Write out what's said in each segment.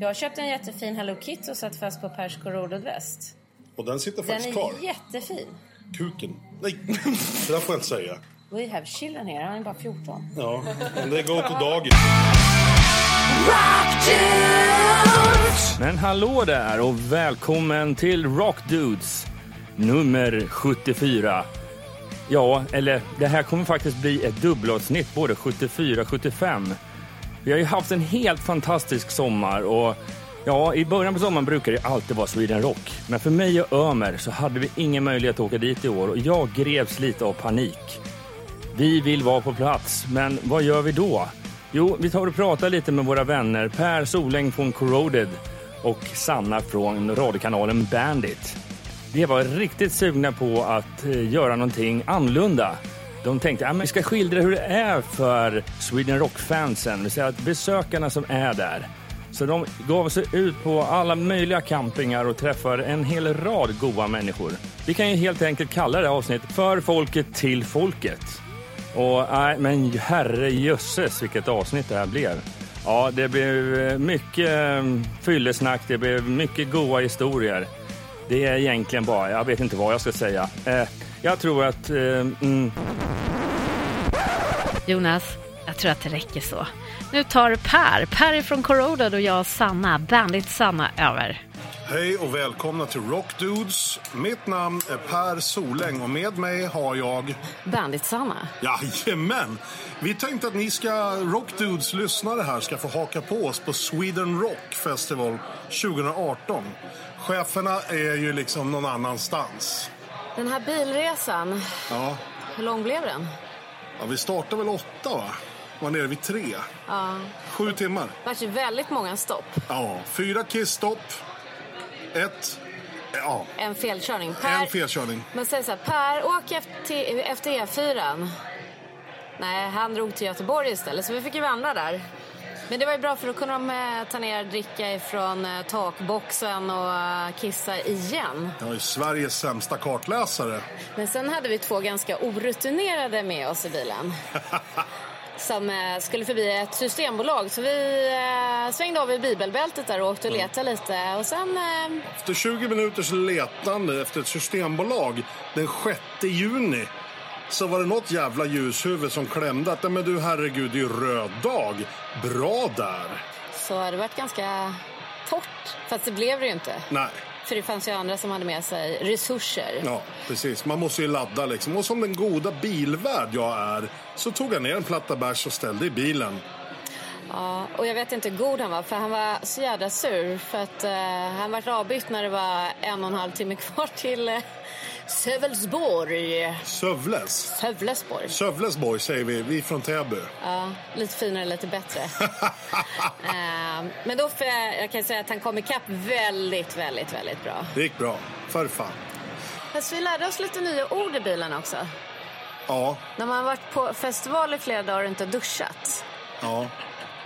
Jag köpte en jättefin Hello Kitty och satt fast på Pers korrododväst. Och den sitter Den faktiskt kvar. är jättefin. Kuken. Nej, det där får jag inte säga. We have children here. Han är bara 14. Ja, men det går till dagis. Men hallå där och välkommen till Rock Dudes nummer 74. Ja, eller det här kommer faktiskt bli ett dubbelavsnitt, både 74 och 75. Vi har ju haft en helt fantastisk sommar och ja, i början på sommaren brukar det alltid vara Sweden Rock. Men för mig och Ömer så hade vi ingen möjlighet att åka dit i år och jag greps lite av panik. Vi vill vara på plats, men vad gör vi då? Jo, vi tar och pratar lite med våra vänner Per Soläng från Corroded och Sanna från radiokanalen Bandit. De var riktigt sugna på att eh, göra någonting annorlunda. De tänkte att vi ska skildra hur det är för Sweden Rock-fansen, det vill säga att besökarna som är där. Så de gav sig ut på alla möjliga campingar och träffade en hel rad goa människor. Vi kan ju helt enkelt kalla det här avsnittet För folket till folket. Och nej, men herre jösses vilket avsnitt det här blev. Ja, det blev eh, mycket eh, fyllesnack, det blev mycket goa historier. Det är egentligen bara, jag vet inte vad jag ska säga. Eh, jag tror att, eh, mm, Jonas, jag tror att det räcker så. Nu tar Per, Per är från Corroded och jag Sanna, Bandit Sanna över. Hej och välkomna till Rock Dudes. Mitt namn är Per Soläng och med mig har jag... Bandit-Sanna. Jajamän! Vi tänkte att ni ska, Rock Dudes lyssnare här, ska få haka på oss på Sweden Rock Festival 2018. Cheferna är ju liksom någon annanstans. Den här bilresan, Ja, hur lång blev den? ja vi startar väl åtta va? Var nere vid tre. Ja, Sju timmar. det vart ju väldigt många stopp. Ja, fyra kissstopp. Ett... Ja, En felkörning. Per, en felkörning. Men säg så här, Per, åk efter, efter E4. Nej, han drog till Göteborg istället, så vi fick ju vandra där. Men det var ju bra, för då kunde de eh, ta ner dricka ifrån eh, takboxen och eh, kissa igen. Jag är Sveriges sämsta kartläsare. Men sen hade vi två ganska orutinerade med oss i bilen. som eh, skulle förbi ett systembolag. Så vi eh, svängde av i bibelbältet där och åkte och letade lite. Och sen... Eh, Efter 20 minuters letande efter ett systembolag den 6 juni så var det något jävla ljushuvud som klämde att "Nej, men du herregud, det är ju röd dag. Bra där. så har det varit ganska torrt. Fast det blev det ju inte. Nej, För det fanns ju andra som hade med sig resurser. ja precis. Man måste ju ladda liksom. Och som den goda bilvärd jag är så tog jag ner en platta bärs och ställde i bilen. Ja, och jag vet inte hur god han var, för han var så jävla sur. För att eh, han var avbytt när det var en och en halv timme kvar till eh, Sövelsborg. Sövles. Sövlesborg. Sövlesborg säger vi, vi är från Täby. Ja, lite finare, lite bättre. Eh, men då får jag, jag kan säga att han kom ikapp väldigt, väldigt, väldigt bra. Det gick bra. För fan. Fast vi lärde oss lite nya ord i bilen också. Ja, När man har varit på festival i flera dagar och inte duschat. ja.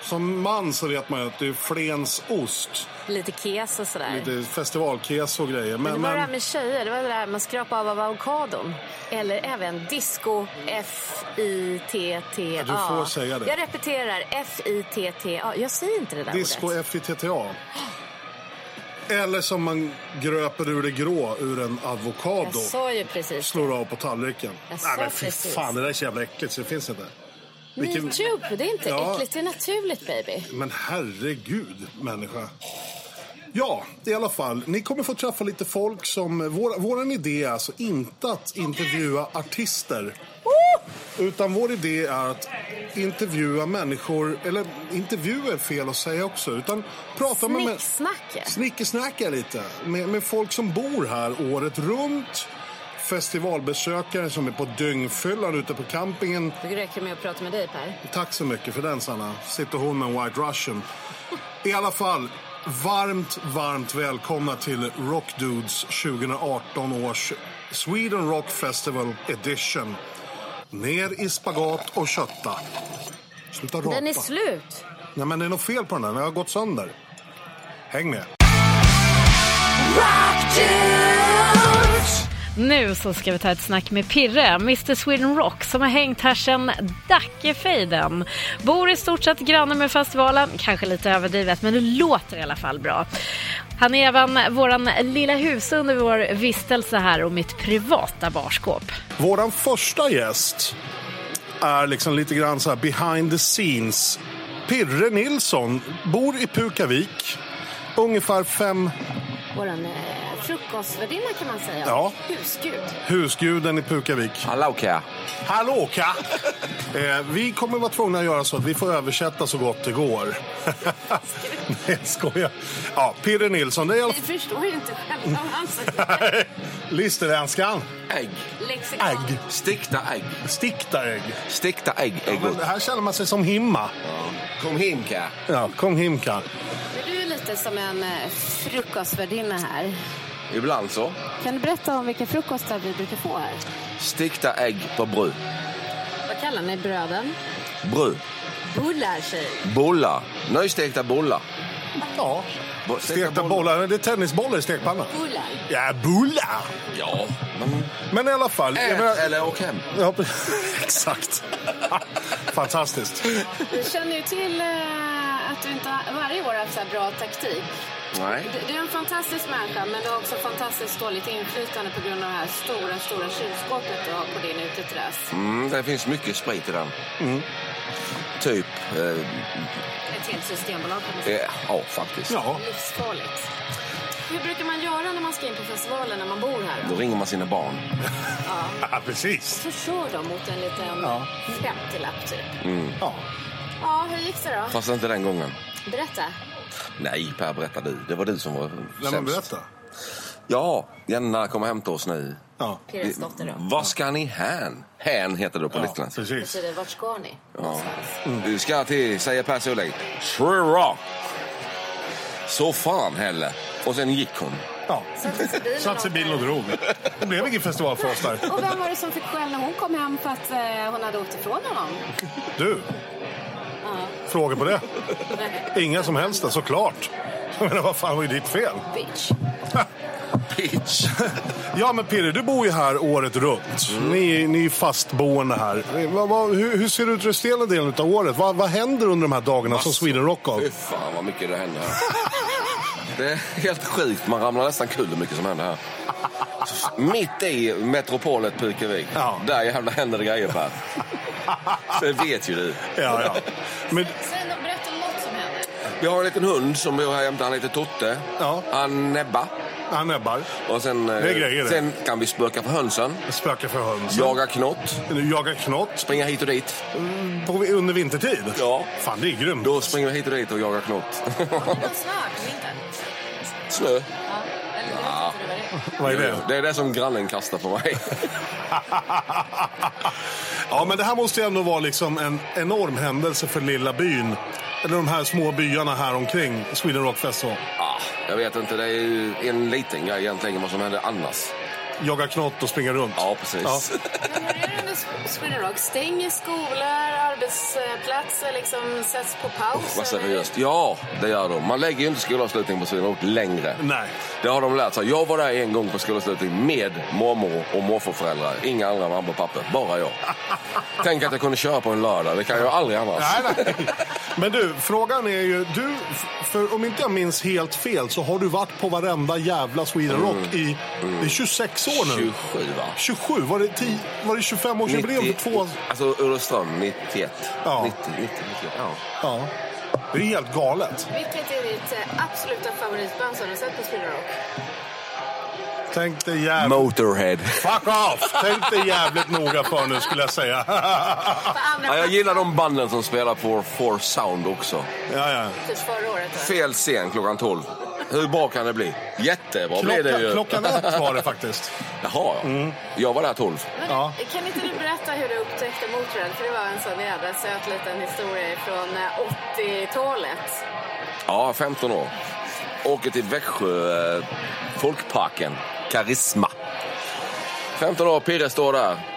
Som man så vet man ju att det är Flens ost. Lite kes och sådär. Lite festivalkes och grejer. Men Men, det var det här men, med tjejer, det var det här med att skrapa av avokadon. Eller även disco F-I-T-T-A. Ja, du får säga det. Jag repeterar F-I-T-T-A. Jag säger inte det där disco ordet. FITTA. Eller som man gröper ur det grå ur en Jag avokado. sa ju precis. Slår av på tallriken. Jag Nej sa men fy precis. fan, det där är så jävla äckligt så det finns inte. Vilken- Metoo, det är inte Ja. äckligt, det är naturligt baby. Men herregud, människa. Ja, i alla fall. Ni kommer få träffa lite folk som... Vår, våran idé är alltså inte att intervjua artister. Utan vår idé är att intervjua människor... Eller intervju är fel att säga också. Utan prata med... män- Snicksnacket. Snickesnacka lite med, med folk som bor här året runt. Festivalbesökare som är på dyngfyllan ute på campingen Det räcker med att prata med dig Per. Tack så mycket för den, Sanna. Sitter hon med en White Russian. I alla fall, varmt, varmt välkomna till Rock Dudes 2018 års Sweden Rock Festival Edition. Ner i spagat och kötta. Sluta rapa. Den är slut. Nej, men det är något fel på den här. Den har gått sönder. Häng med. Nu så ska vi ta ett snack med Pirre, Mr Sweden Rock, som har hängt här sedan Dackefejden. Bor i stort sett granne med festivalen, kanske lite överdrivet, men det låter i alla fall bra. Han är även våran lilla hus under vår vistelse här och mitt privata barskåp. Våran första gäst är liksom lite grann så här behind the scenes. Pirre Nilsson bor i Pukavik. Ungefär fem Vår eh, frukostvärdinna kan man säga. Ja. Husgud. husguden i Pukavik. Hallå Kia! Hallå Ka! Eh, vi kommer vara tvungna att göra så att vi får översätta så gott det går. Nej, jag skojar. Ja, Pirre Nilsson, det är i alla Vi förstår ju inte själva vad han säger. fall... Listerländskan. Ägg. Lexikon. Ägg. Stekta ägg. Stickta ägg. Stekta ägg är Men gott. här känner man sig som himma. Kom hem Kia. Ja, kom him Ka. Men Du är lite som en eh, frukostvärdinna här. Ibland så. Kan du berätta om vilka frukostar vi brukar få här? Stekta ägg på bröd. Vad kallar ni bröden? Bröd. Bullar sig. Bollar. Nystekta bollar. Ja. Bo- Stekta bollar. Det är tennisbollar i stekpannan. Bullar. Ja, bullar. Ja. Men Men i alla fall. jag Mm. ät menar- eller åk hem. Ja, exakt. Fantastiskt. Vi känner ju till eh, att du inte har- varje år har haft så här bra taktik. Nej. Du- Du är en fantastisk människa men du har också fantastiskt dåligt inflytande på grund av det här stora, stora kylskåpet du har på din uteterrass. Mm, det finns mycket sprit i den. Mm. Typ. eh, Ett helt systembolag kan man säga. Ja, ja, faktiskt. Eh, Ja. Livsfarligt. Hur brukar man göra när man ska in på festivalen när man bor här? Då ringer man sina barn. ja, precis. Försörj dem mot en liten Ja. 50-lapp typ. Ja. Ja, hur gick det då? Mm. Fast inte den gången. Berätta. Nej, Per, berätta du. Det var du som var Nej, men sämst. berätta. Ja, Jenna kommer hämta oss nu. Ja. Pirres dotter då. Vad ska ni hän? Hän heter det på Lettland. precis. Betyder vart ska ni? Någonstans. Du ska till, säger Per Solveig, Shrira. Så fan heller. Och sen gick hon. Ja. Satte sig i bilen Satt sig i bilen och åkte. drog. Det blev ingen festival för oss där. Och vem var det som fick skäll när hon kom hem för att eh, hon hade åkt ifrån honom? Du, frågor på det? Inga som helst, såklart. Jag menar, vad fan var ju ditt fel? Bitch. Bitch. Ja, men Pirre, du bor ju här året runt. Ni, ni är fastboende här. Vad- vad- hur, hur ser det ut resterande delen av året? Vad, vad händer under de här dagarna som Sweden Rock av? Fy fan vad mycket det händer här. Det är helt sjukt. Man ramlar nästan kul hur mycket som händer här. Mitt i metropolet Pukevik. Ja. Där jävla händer det grejer Per. Det vet ju du. Ja, ja. Men, Sen berätta om något som hände. Vi har en liten hund som bor här jämte. Han heter Totte. Ja. Han näbbar. han näbbar. Och sen, eh, Det är grejer det. sen kan vi spöka på hönsen. Spökar för höns. Jaga knott. Jagar knott Mm, Springa hit och dit. på, under vintertid. Ja. Fan, det är grymt. Då springer vi hit och dit och jagar knott. Men snart, vintern. Snö. Ja. Eller det vet inte du vad det Vad är är. det? Det är det som grannen kastar på mig. ja, men det här måste ju ändå vara liksom en enorm händelse för lilla byn. Eller de här små byarna här omkring Sweden Rock Festival. Ah, jag vet inte, det är ju en liten grej egentligen vad som händer annars. Jaga knott och springa runt. Ja, precis. Men hur är det med Sweden Rock? Stänger skolor, arbetsplatser liksom sätts på paus? Vad eller? seriöst. Ja, det gör de. Man lägger ju inte skolavslutning på Sweden Rock längre. Nej. Det har de lärt sig. Jag var där en gång på skolavslutning med mormor och morfarföräldrar. Inga andra mammor och pappor, bara jag. Tänk att jag kunde köra på en lördag. Det kan jag aldrig annars. Nej, nej. Men du, frågan är ju... Du, f- för om inte jag minns helt fel så har du varit på varenda jävla Sweden Rock i... Det är 26 år nu. 27 Mm, va? 27? Var det, 10, var det 25-årsjubileum för två... Alltså Ulricehamn 91. Ja. 90, 90, 91. Ja. Ja. Det är helt galet. Vilket är ditt eh, absoluta favoritband som du sett på Sweden Rock? Tänk dig jävligt... Motorhead. Fuck off! Tänk dig jävligt noga för nu skulle jag säga. På andra Ja, jag plats gillar de banden som spelar på Four Sound också. Ja, ja. typ förra året. va? Fel scen klockan 12. Hur bra kan det bli? Jättebra blir det Klockan, ju. klockan ett var det faktiskt. Mm. Jaha, ja. Jag var där 12. Men, Ja. Kan inte du berätta hur du upptäckte Motörhead? För det var en sån jävla söt liten historia från eh, 80-talet. Ja, 15 år. Åker till Växjö, eh, Folkparken, Karisma. 15 år, Pirre står där.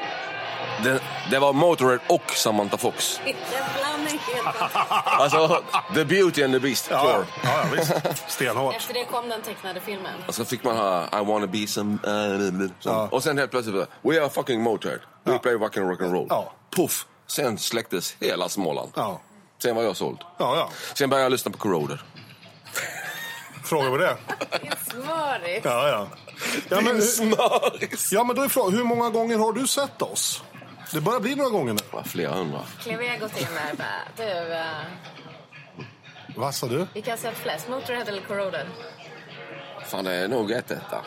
Det, det var Motörhead och Samantha Fox. En blandning helt Alltså, The Beauty and the Beast Ja, tour. ja, ja visst. Stenhårt. Efter det kom den tecknade filmen. Och så fick man höra I wanna be some... Uh, Ja. Och sen helt plötsligt bara, We are fucking Motörhead. We Ja. play rock and, rock and roll. Ja. Puff! Sen släcktes hela Småland. Ja. Sen var jag såld. Ja, ja. Sen började jag lyssna på Corroder. Fråga på det. Smörigt. Ja, ja. Ja men, hur- Smöris! ja, men då är frågan, hur många gånger har du sett oss? Det börjar bli några gånger nu. Flera hundra. Klev jag gått in här och bara, du, eh, Vad sa du? vilka har sett flest? Motorhead eller Corroded? Fan, det är nog ett etta.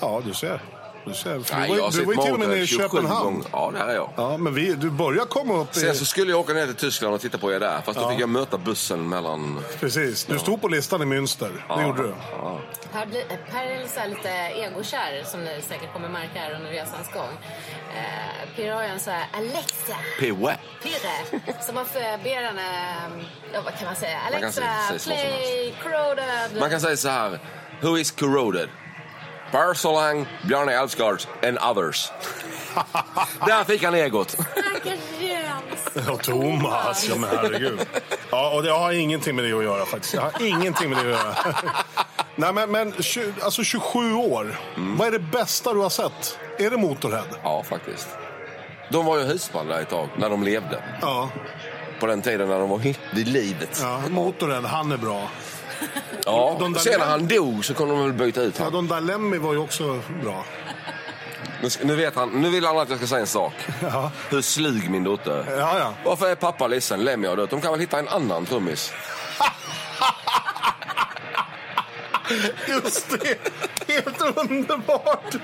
Ja, du ser. Du ser. För Nej, du var, jag har ju- du sett var ju till och med nere Motörhead i 27 Köpenhamn. gånger. Ja, där är jag. Ja, men vi, du börjar komma upp i... Sen så skulle jag åka ner till Tyskland och titta på er där. Fast då fick jag möta bussen mellan... Precis. Du stod på listan i Münster. Det gjorde du. Ja. Per, blir, per är lite så här lite egokär som ni säkert kommer märka här under resans gång. Eh, Pirre har ju en så här Alexa, P.O.A. Pirre, som man får- ber henne, eh, ja vad kan man säga, kan Alexa, säga- säga så som play Corroded. Man kan säga så här. Who is corroded? Per Solang, Bjarne Elfsgaard and others. Där fick han egot. Stackars Jens. Ja, Thomas. Ja, men herregud. Ja, och det har ingenting med det att göra faktiskt. Jag har ingenting med det att göra. Nej, men, men tju- alltså 27 år. Mm. Vad är det bästa du har sett? Är det Motorhead? Ja, faktiskt. De var ju husband där ett tag, när de levde. Ja. På den tiden när de var vid livet. ja. Motorhead, han är bra. Ja. De där- Sen när han dog så kom de väl byta ut Ja, honom. de där Lemmy var ju också bra. Nu, ska- nu, vet han, nu vill han att jag ska säga en sak. Ja. Hur slug min dotter är. Ja, ja. Varför är pappa ledsen? Lemmy har dött. De kan väl hitta en annan trummis? Just det! Helt underbart!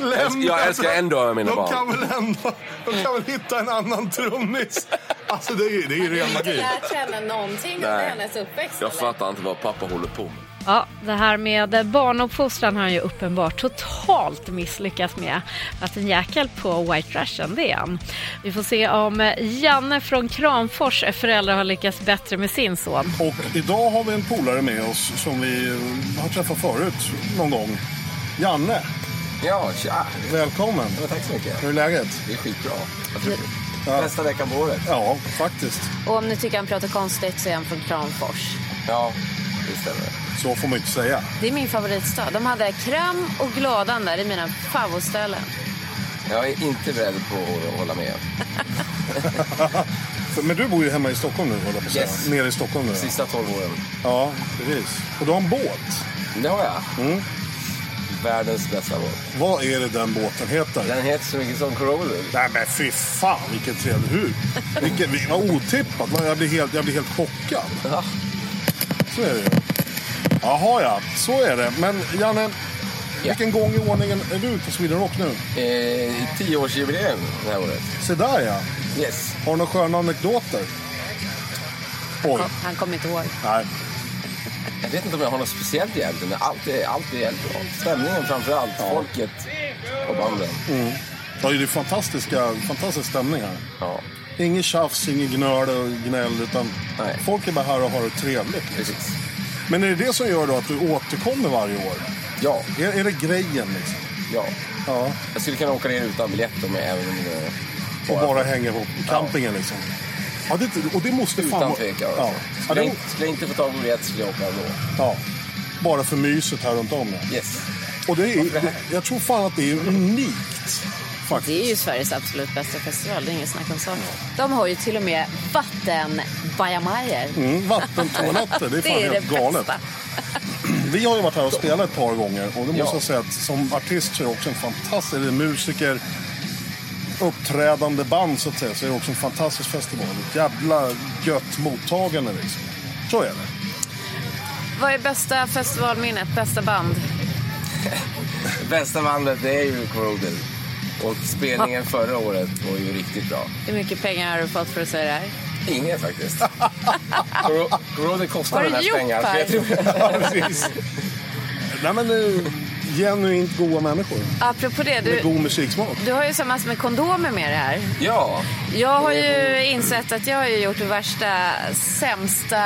Lämna Jag älskar ändå mina de barn. kan väl ändå, De kan väl hitta en annan trummis? Alltså, det är ju, det är ju ren Jag har magi. inte lärt känna någonting under Nej. hennes uppväxt. Jag eller? fattar inte vad pappa håller på med. Ja, det här med barnuppfostran har han ju uppenbart totalt misslyckats med. Att en jäkel på White Russian, det är han. Vi får se om Janne från Kramfors föräldrar har lyckats bättre med sin son. Och idag har vi en polare med oss som vi eh, har träffat förut någon gång. Janne, Ja, tja. välkommen. Ja, tack så mycket. Hur är läget? Det är skitbra. Jag tycker det. Bästa veckan på året. Ja, faktiskt. Och om ni tycker han pratar konstigt så är han från Kramfors. Ja, det stämmer. Så får man ju inte säga. Det är min favoritstad. De hade Kram och Gladan där, det är mina favoritställen. Jag är inte beredd på att hålla med. För- Men du bor ju hemma i Stockholm nu, håller jag på att säga. Yes. Nere i Stockholm nu. ja. Sista 12 åren. Ja, precis. Och du har en båt. Mm. Det har jag. Världens bästa båt. Vad är det den båten heter? Den heter så mycket som Corollo. Nej men fy fan vilket trevligt hur? Vilket, vil- vad otippat. Man- Jag blir helt, jag blir helt chockad. Ja. Så är det ju. Jaha ja, så är det. Men Janne, vilken gång i ordningen är du på Sweden Rock nu? Eh, tioårsjubileum det här året. Se där ja. Yes. Har du några sköna anekdoter? Oj, Han kommer inte ihåg. nej. Jag vet inte om jag har något speciellt egentligen, men allt är, allt är helt bra. Stämningen framför allt, folket och banden. Mm. Ja, Det är fantastiska, fantastisk stämning här. Ja, Inget tjafs, inget gnöl och gnäll utan Nej. folk är bara här och har det trevligt. precis. Men är det det som gör då att du återkommer varje år? Ja, Är, är det grejen liksom? ja. Ja. Jag skulle kunna åka ner utan biljett om jag även eh, om det Och bara hänga ihop i campingen liksom. Ja, det, och det måste fan Utan vara- tvekan. Ja. Alltså. Ja, Skulle, jag det, inte, skulle jag inte få tag på biljett skulle jag åka ändå. ja. Bara för myset här runt om. ja. Yes. Och det är, det, jag tror fan att det är unikt. Faktiskt. Det är ju Sveriges absolut bästa festival, det är inget snack om saken. De har ju till och med vattenbajamajor. Mm, vattentoaletter, det är fan Det är det helt galet. bästa. Vi har ju varit här och spelat ett par gånger och det måste Ja. jag säga att som artist så är det också en fantastisk, eller musiker, uppträdande band så att säga, så är det också en fantastisk festival. Ett jävla gött mottagande liksom. Så är det. Vad är bästa festivalminnet, bästa band? Bästa bandet det är ju Corroded. Och spelningen förra året var ju riktigt bra. Hur mycket pengar har du fått för att säga det här? Inget faktiskt. Cor- Corroded kostar Vad den har du här gjort, pengar. så jag Per? tror- Ja, precis. Nej men eh, Genuint goa människor. Apropå det, Med du, god musiksmak. du har ju så massor med kondomer med dig här. Ja, Jag har ju insett att jag har ju gjort det värsta, sämsta,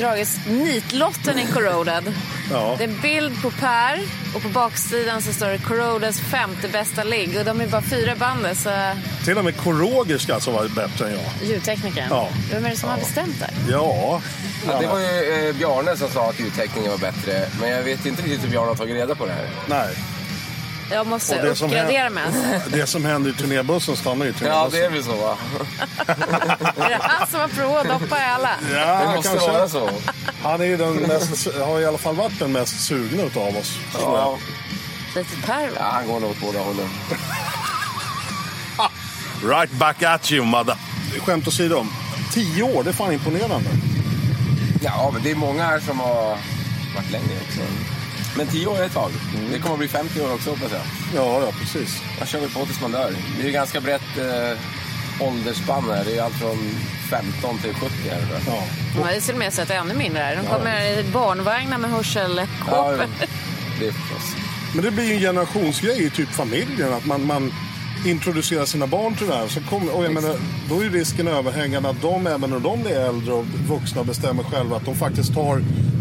dragit nitlotten i Corroded. Ja. Det är en bild på Per och på baksidan så står det Corrodeds femte bästa ligg och de är bara fyra bandet så Till och med Koroger ska alltså vara bättre än jag. ljudteknikern. Ja. Vem är det som har bestämt det? Ja. ja det var ju eh, Bjarne som sa att ljudtäckningen var bättre. Men jag vet inte riktigt hur Bjarne har tagit reda på det här. Nej. Jag måste Och det som uppgradera mig. alltså. Det som händer i turnébussen stannar i Ja, turnébussen. det är väl så va? Är det han som har provat att doppa i alla? Ja, Det måste kanske. vara så. Han är ju den mest, har i alla fall varit den mest sugna utav oss. tror jag. Ja, Lite Per ja va? han går nog åt båda hållen. Right back at you, madda. Skämt åsido. Tio år, det är fan imponerande. Ja, men det är många här som har varit längre också. Men 10 år är ett tag. Det kommer att bli 50 år också hoppas jag. Mm. Ja, ja, precis. Man kör väl på tills man dör. Det är ju ganska brett eh, åldersspann här. Det är allt från 15 till 70 här. tror jag. Ja. De har ju till och med sett ännu mindre här. De kommer i barnvagnar med hörselkåpor. Ja, jo. det är förstås. Men det blir ju en generationsgrej i typ familjen. Att man, man introducerar sina barn till det här. Så kom, och jag menar, då är ju risken överhängande att de, även när de är äldre och vuxna, bestämmer själva att de faktiskt tar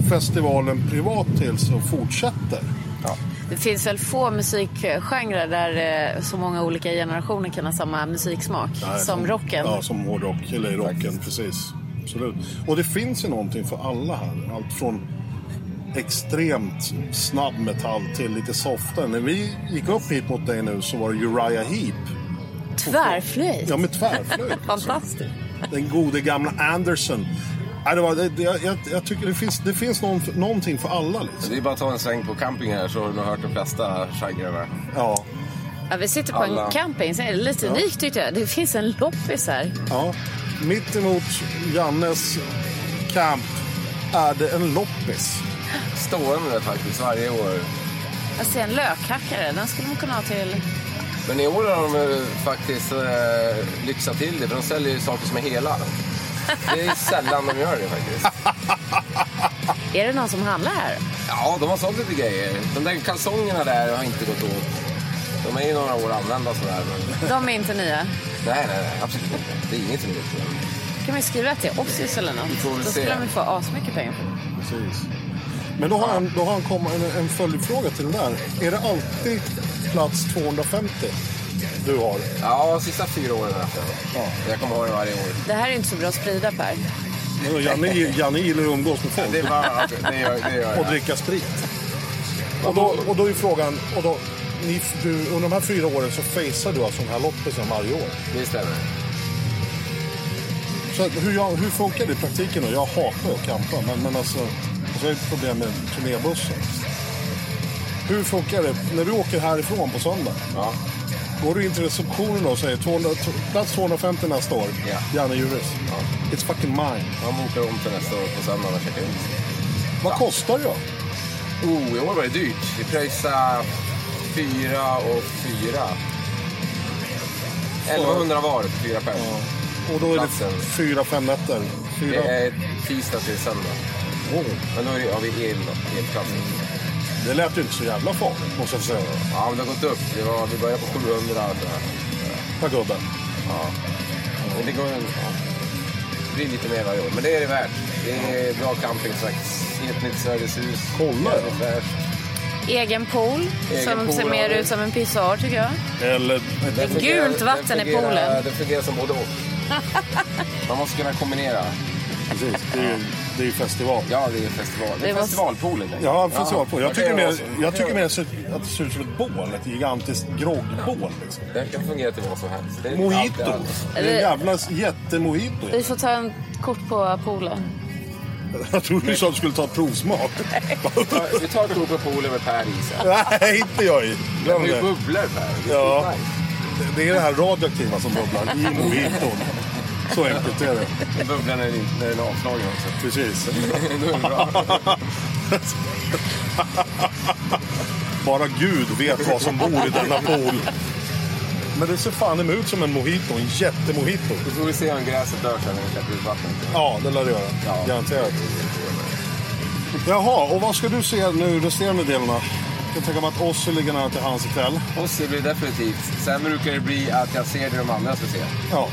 festivalen privat till sig och fortsätter. Det finns väl få musikgenrer där eh, så många olika generationer kan ha samma musiksmak som rocken. Ja, som hårdrock. Eller i rocken, precis. Absolut. Och det finns ju någonting för alla här. Allt från extremt snabb metall till lite softare. När vi gick upp hit mot dig nu så var det Uriah Heep. Tvärflöjt. Ja, med tvärflöjt. liksom. Fantastiskt. Den gode gamla Anderson. Nej, det var, det, det- jag, jag, jag tycker det finns, det finns någon, någonting för alla. Så Liksom. det är bara att ta en sväng på camping här så har du nog hört de flesta genrerna. Ja, Ja, vi sitter på en Alla. camping. Så är det lite unikt tyckte jag. Det finns en loppis här. ja. Mitt emot Jannes camp är det en loppis. Stående där faktiskt varje år. Jag ser en lökhackare. Den skulle man kunna ha till... Men i år har de eh, faktiskt eh, lyxat till det för de säljer ju saker som är hela. Det är sällan de gör det faktiskt. Är det någon som handlar här? Ja, de har sålt lite grejer. De där kalsongerna där har inte gått åt. De är ju några år använda sådär. Men... De är inte nya. Nej, nej, nej, absolut inte. Det är inget som är nytt. Kan vi skriva till Oxys eller något? Vi får väl Då se. skulle de ju få asmycket pengar för det. Precis. Men då har han, då har han kommit en, en följdfråga till den där. Är det alltid plats 250 du har? Ja, sista fyra åren har jag haft den. Jag kommer ha den varje år. Det här är inte så bra att sprida Per. Nu, Janne, Janne gillar ju att umgås med Det är folk bara, det gör, det gör och jag. dricka sprit. Och då, och då är frågan, och då, ni, du, under de här fyra åren så facear du alltså den här loppisen varje år. Det stämmer. Så att hur, jag, hur funkar det i praktiken då? Jag hatar ju att campa, men, men alltså, alltså jag har ju problem med turnébussen. Hur funkar det? När du åker härifrån på söndag, Ja. går du in till receptionen då och säger 200, plats 250 nästa år, Ja. Janne Juris. Ja. It's fucking mine. Man bokar om till nästa år på söndagen och checkar ut. Vad kostar jag? Oh, i år var det dyrt. Vi pröjsade fyra och fyra. 1100 var för fyra pers. Och då är Platsen. det fyra, fem nätter. Fyra. Det är tisdag till söndag. Åh, Men då är det, har vi el då, elplats. det lät ju inte så jävla farligt, måste jag säga. Ja, men det har gått upp. Det var, vi började på 700 tror jag. Per gubben. Ja. Men det går en... Ja. Det blir lite mer varje år, men det är det värt. Det är bra camping som sagt. Helt nytt servicehus. Kolla, Jävligt fräscht. Egen pool Egen som ser pool, mer ja. ut som en pissoar tycker jag. Eller... Den gult vatten den i fungerar- poolen. Den fungerar som både och. Man måste kunna kombinera. Precis, det är ju- det är ju festival. Ja, det är festival. Det Det är var- festivalpoolen. tänker jag. Ja, en festivalpool. Jag det tycker kan mer, vara så. jag tycker mer så- att det ser ut som ett bål. Ett gigantiskt groggbål. Liksom. Den kan fungera till vad som helst. Det är allt det Mojito. här. Det är en jävla jättemojito. Vi får ta en kort på poolen. Jag trodde du sa att du skulle ta provsmak. Ta- Vi tar ett kort på poolen med Per i sen. Nej, inte jag i. Det är Glöm ju det. bubblor Per. Det är Ja. skitnice. Det är det här radioaktiva som bubblar i mojiton. Så enkelt är det. Bubblan är inte- när den är avslagen också. Precis. Då är det bra. Bara Gud vet vad som bor i denna pool. Men det ser fan ut som en mojito. En jättemojito. Vi får vi se om gräset dör sen när vi släpper ut vattnet. Ja, det lär det göra. Ja. Garanterat. Jaha, och vad ska du se nu i resterande delarna? Jag kan tänka mig att Ossi ligger nära till hans ikväll. Och så blir det definitivt. Sen brukar det bli att jag ser det de andra ska se. Ja.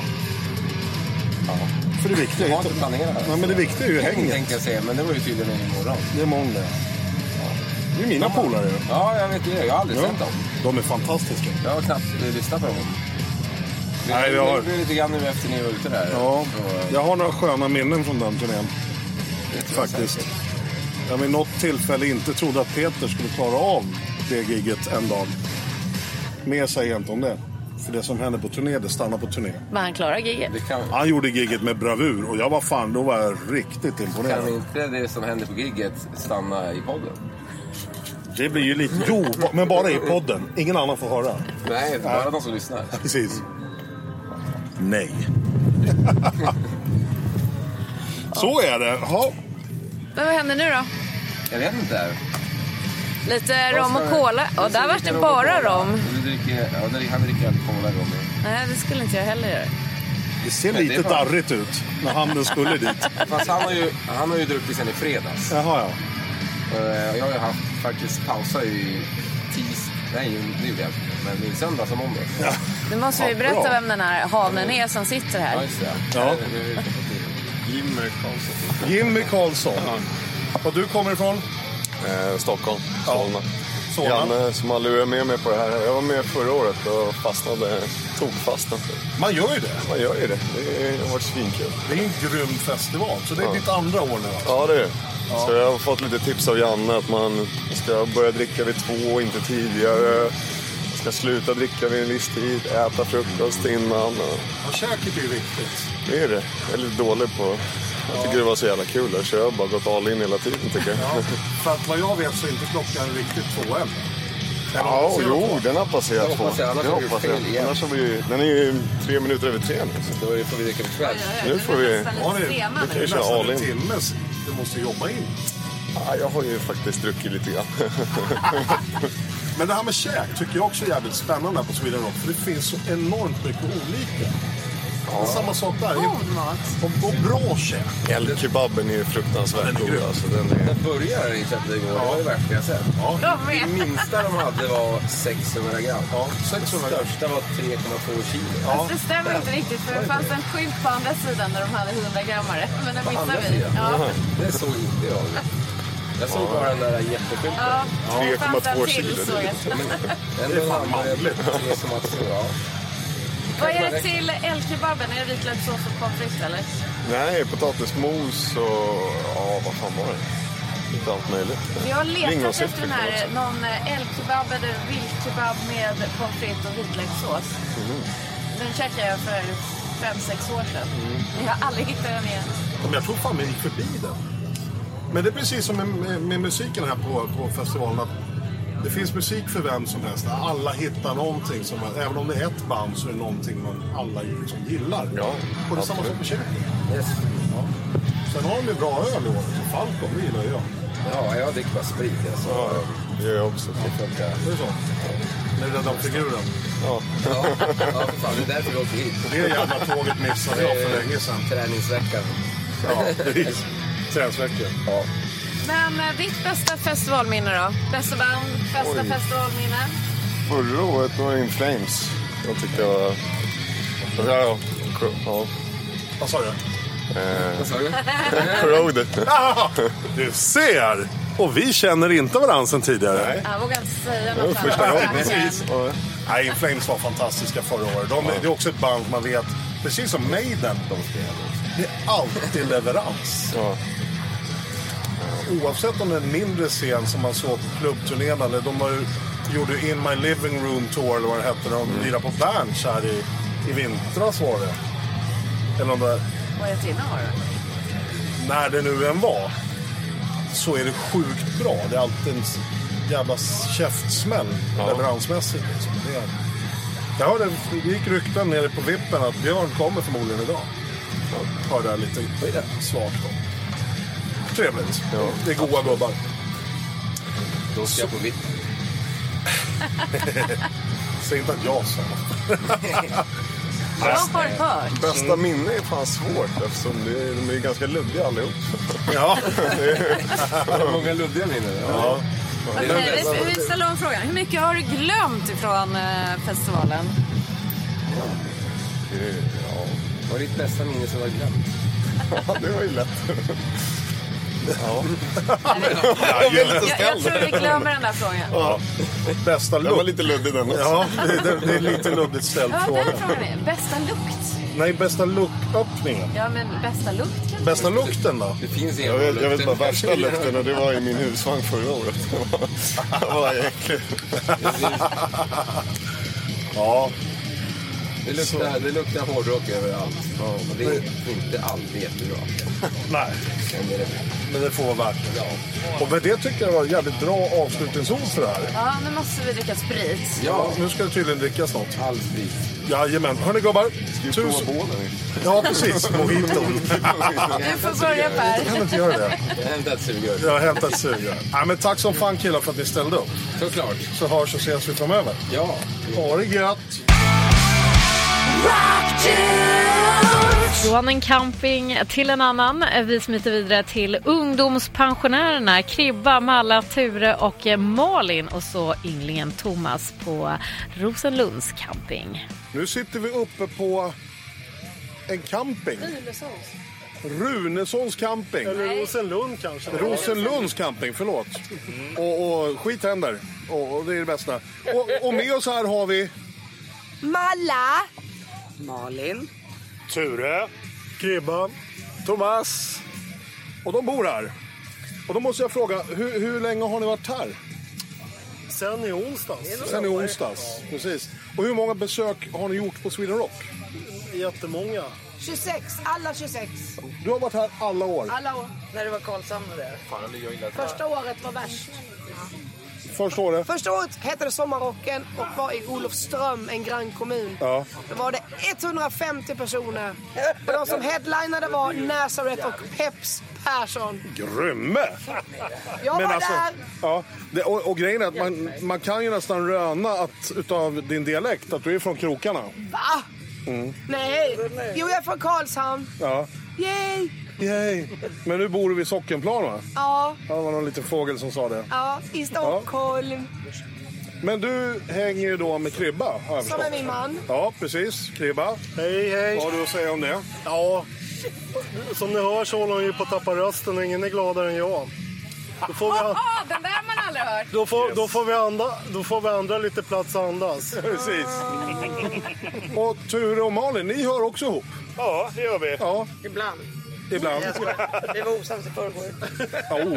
För det viktiga Jag är har inte planerat. Nej, men det viktiga är ju Häng hänget. tänkte jag säga, men det var ju tydligen imorgon. Det är måndag. Det är mina polare ju. Ja, jag vet det. Jag har aldrig Ja. sett dem. De är fantastiska. Jag har knappt eh, lyssnat på dem. Det- Nej, vi har- Det blir lite grann nu efter ni var ute där. Ja, Så- jag har några sköna minnen från den turnén faktiskt. Jag vid något tillfälle inte trodde att Peter skulle klara av det gigget en dag. Mer säger jag inte om det. För det som händer på turné, det stannar på turné. Men han klarar giget. Det kan, Han gjorde gigget med bravur och jag var fan, då var jag riktigt kan imponerad. inte det som händer på gigget stanna i podden? Det blir ju lite... Jo, ba- men bara i podden. Ingen annan får höra. Nej, bara de som lyssnar. Precis. Nej. Så är det. Ja, Men vad händer nu då? Jag vet inte. Lite rom och cola. Ja, där var det bara rom. Du dricker, ja, där- han dricker alltid cola rom. Nej, det skulle inte jag heller göra. det ser Men det är lite fan- darrigt ut när handen skulle dit. Fast han har ju, han har ju druckit sen i fredags. Jaha, ja. Eh, Jag har ju haft faktiskt pausa i tis... Nej, det gjorde jag inte. Men i söndag som måndags. Eh, Ja, Nu måste vi bra. berätta vem den här hanen är som sitter här. just det. Ja. Jimmy Karlsson. Jimmy Karlsson. Och du kommer ifrån? Eh, Stockholm, Solna. Solna. Janne som har lurat med mig på det här. Jag var med förra året och fastnade, tog fastnade. Man gör ju det. Man gör ju det. Det har varit svinkul. Det är en grym festival. Så det är ditt andra år nu va? Ja, det är det. Så jag har fått lite tips av Janne att man ska börja dricka vid två och inte tidigare. Man ska sluta dricka vid en viss tid, äta frukost innan. Och Och käket är ju viktigt. det är det. Jag är lite dålig på... Jag tycker det var så jävla kul där, så jag har bara gått all in hela tiden tycker jag. Ja. För att vad jag vet så är inte klockan riktigt två än. Eller, Ja, ser du jo, på? den har passerat Jag två. hoppas jag, annars Det har vi gjort hoppas fel igen. jag. Annars har vi ju... Den är ju tre minuter över tre nu. så Då är det- får vi dricka ikväll. Nu får vi... Ja, det är- Vi kan ju Det är köra nästan all en in. timme. så Du måste jobba in. Ja, jag har ju faktiskt druckit lite grann. Men det här med käk tycker jag också är jävligt spännande här på Sweden Rock. För det finns så enormt mycket olika. Men Samma sak där. God mat. Och, och bra käk. Älgkebaben är ju fruktansvärt Den är grym. god alltså. Den är... Jag började i köpte igår. Det var det värsta jag sett. Det Mm. minsta de hade var 600 gram. Ja, 600 gram. Största var 3,2 kilo. Ja. Det stämmer inte riktigt för det fanns en skylt på andra sidan där de hade 100 grammare. Men den andra missade vi. sidan? Ja. Det såg inte jag. Jag såg bara den där jätteskylten. Ja. Det fanns en 3,2 till, kilo. såg jag. Den det är fan manligt. 3,2, ja. Vad är det till älgkebaben? Är det vitlökssås och pommes frites eller? Nej, potatismos och... Ja, vad fan var det? Lite allt möjligt. Jag har letat Lingonsylt efter den fick här, jag någon eh, älgkebab eller viltkebab med pommes frites och vitlökssås. Den käkade jag för fem sex år sedan. Mm. Men Jag har aldrig hittat den igen. Men jag tror fan vi gick förbi den. Men det är precis som med, med, med musiken här på, på festivalen. Att det finns musik för vem som helst. Alla hittar någonting. Som, även om det är ett band så är det någonting man alla liksom gillar. Ja, och det är samma sak med käken. Ja. Sen har de ju bra öl i år. Så Falcon, det gillar jag. Ja, jag dricker bara sprit. Alltså. Det gör jag också. Det funkar. Det är så. Nu är det den figuren. Ja, ja, för fan, det är därför vi åker hit. Det jävla tåget missade jag för länge sedan. Träningsveckan. Ja, precis. Träningsveckan. Ja. Men eh, ditt bästa festivalminne då? Bästa band, bästa Oj. festivalminne? Förra året var In Flames. Jag tyckte jag var... Ja, ja. ja. Eh, Vad sa du? Vad sa du? Corroded. Du ser! Och vi känner inte varandra sedan tidigare. Jag vågar inte säga Det var något första annat. gången. Precis. Ja. Nej, In Flames var fantastiska förra året. De, Det är också ett band man vet, precis som Maiden, de spelar. Det är alltid leverans. Ja. Oavsett om det är en mindre scen som man såg på klubbturnén eller de var, ju- gjorde ju In My Living Room Tour eller vad det hette när de Mm. lirade på Berns här i, i vintras var det. Eller om det, Året innan var det. när det nu än var, så är det sjukt bra. Det är alltid en s- jävla käftsmäll leveransmässigt. Liksom. Det är... Jag hörde, det gick rykten nere på vippen att Björn kommer förmodligen idag. Hörde jag lite svagt om. Trevligt. Det är goa gubbar. Då ska jag på vitt. Säg inte att jag sa det. Jag har hört. Bästa minne är fan svårt eftersom det är, de är ju ganska luddiga allihop. Ja. Många luddiga minnen. Ja. Okej, vi- vi ställer om frågan. Hur mycket har du glömt ifrån eh, festivalen? Ja. Vad är ditt bästa minne som du har glömt? Ja, det var ju lätt. Ja. Jag blev lite Jag, jag ställd. tror vi glömmer den där frågan. Ja. Bästa Den var lukt. lite luddig den också. Ja, det, det, det är lite luddigt ställd Ja, fråga. den frågan är. Bästa lukt? Nej, bästa luktöppningen. Ja, men bästa lukt kanske? Bästa lukten då? Det finns Jag ingen vet, jag vet lukt. bara värsta lukten och det var i min husvagn förra året. Det var äckligt. Ja, Det luktar, det luktar hårdrock överallt. Och det är inte alltid jättebra. nej, Men det är det. men det får vara värt det. Och med det tycker jag var ett jävligt bra avslutningsord för det här. Ja, nu måste vi dricka sprit. Ja, nu ska det tydligen drickas något. All sprit. Jajamän. Hörni gubbar. Ska vi prova Tusen... bålen? Ja, precis. Mojiton. Du får börja Jag Per. kan inte göra det. Jag har hämtat sugrör. Jag har hämtat sugrör. Ja, men tack som fan killar för att ni ställde upp. Såklart. Så hörs och ses vi framöver. Ja. Ha det gött! Från en camping till en annan. Vi smiter vidare till ungdomspensionärerna Kribba, Malla, Ture och Malin och så ynglingen Thomas på Rosenlunds camping. Nu sitter vi uppe på en camping. Runessons camping. Eller Rosenlund kanske. Rosenlunds camping, förlåt. Och, och skit händer. Och, och det är det bästa. Och, och med oss här har vi... Malla. Malin. Ture. Kribban. Thomas. Och de bor här. Och då måste jag fråga, hur, hur länge har ni varit här? Sen i onsdags. Sen i onsdags. Precis. Och hur många besök har ni gjort på Sweden Rock? Jättemånga. 26, alla 26. Du har varit här alla år. Alla år. När det var Karlshamn och det. Första året var värst. Första året. Första året hette det Sommarrocken och var i Olofström, en grannkommun. Ja. Då var det 150 personer. Och de som headlinade var Nazareth och Peps Persson. Grymme! Jag var alltså- där. ja, det, och, och grejen är att man, man kan ju nästan röna att, utav din dialekt att du är från krokarna. Mm. Va? Nej. Jo, jag är från Karlshamn. Ja. Yay! Yay. Men nu bor du vid Sockenplan va? Ja, Ja, det var någon liten fågel som sa det. ja, i Stockholm. Men du hänger ju då med Kribba har jag Som förstått. är min man. Ja, precis. Kribba. Hej, Vad hej. har du att säga om det? Ja, som ni hör så håller hon ju på att tappa rösten och ingen är gladare än jag. Då får vi, Åh, den där har man aldrig hört. då får, då får vi, anda, då får vi andra lite plats att andas. Precis. Och Ture och Malin, ni hör också ihop? Ja, det gör vi. Ja, Ibland. ibland. Vi var osams i förrgår. Ja, oh.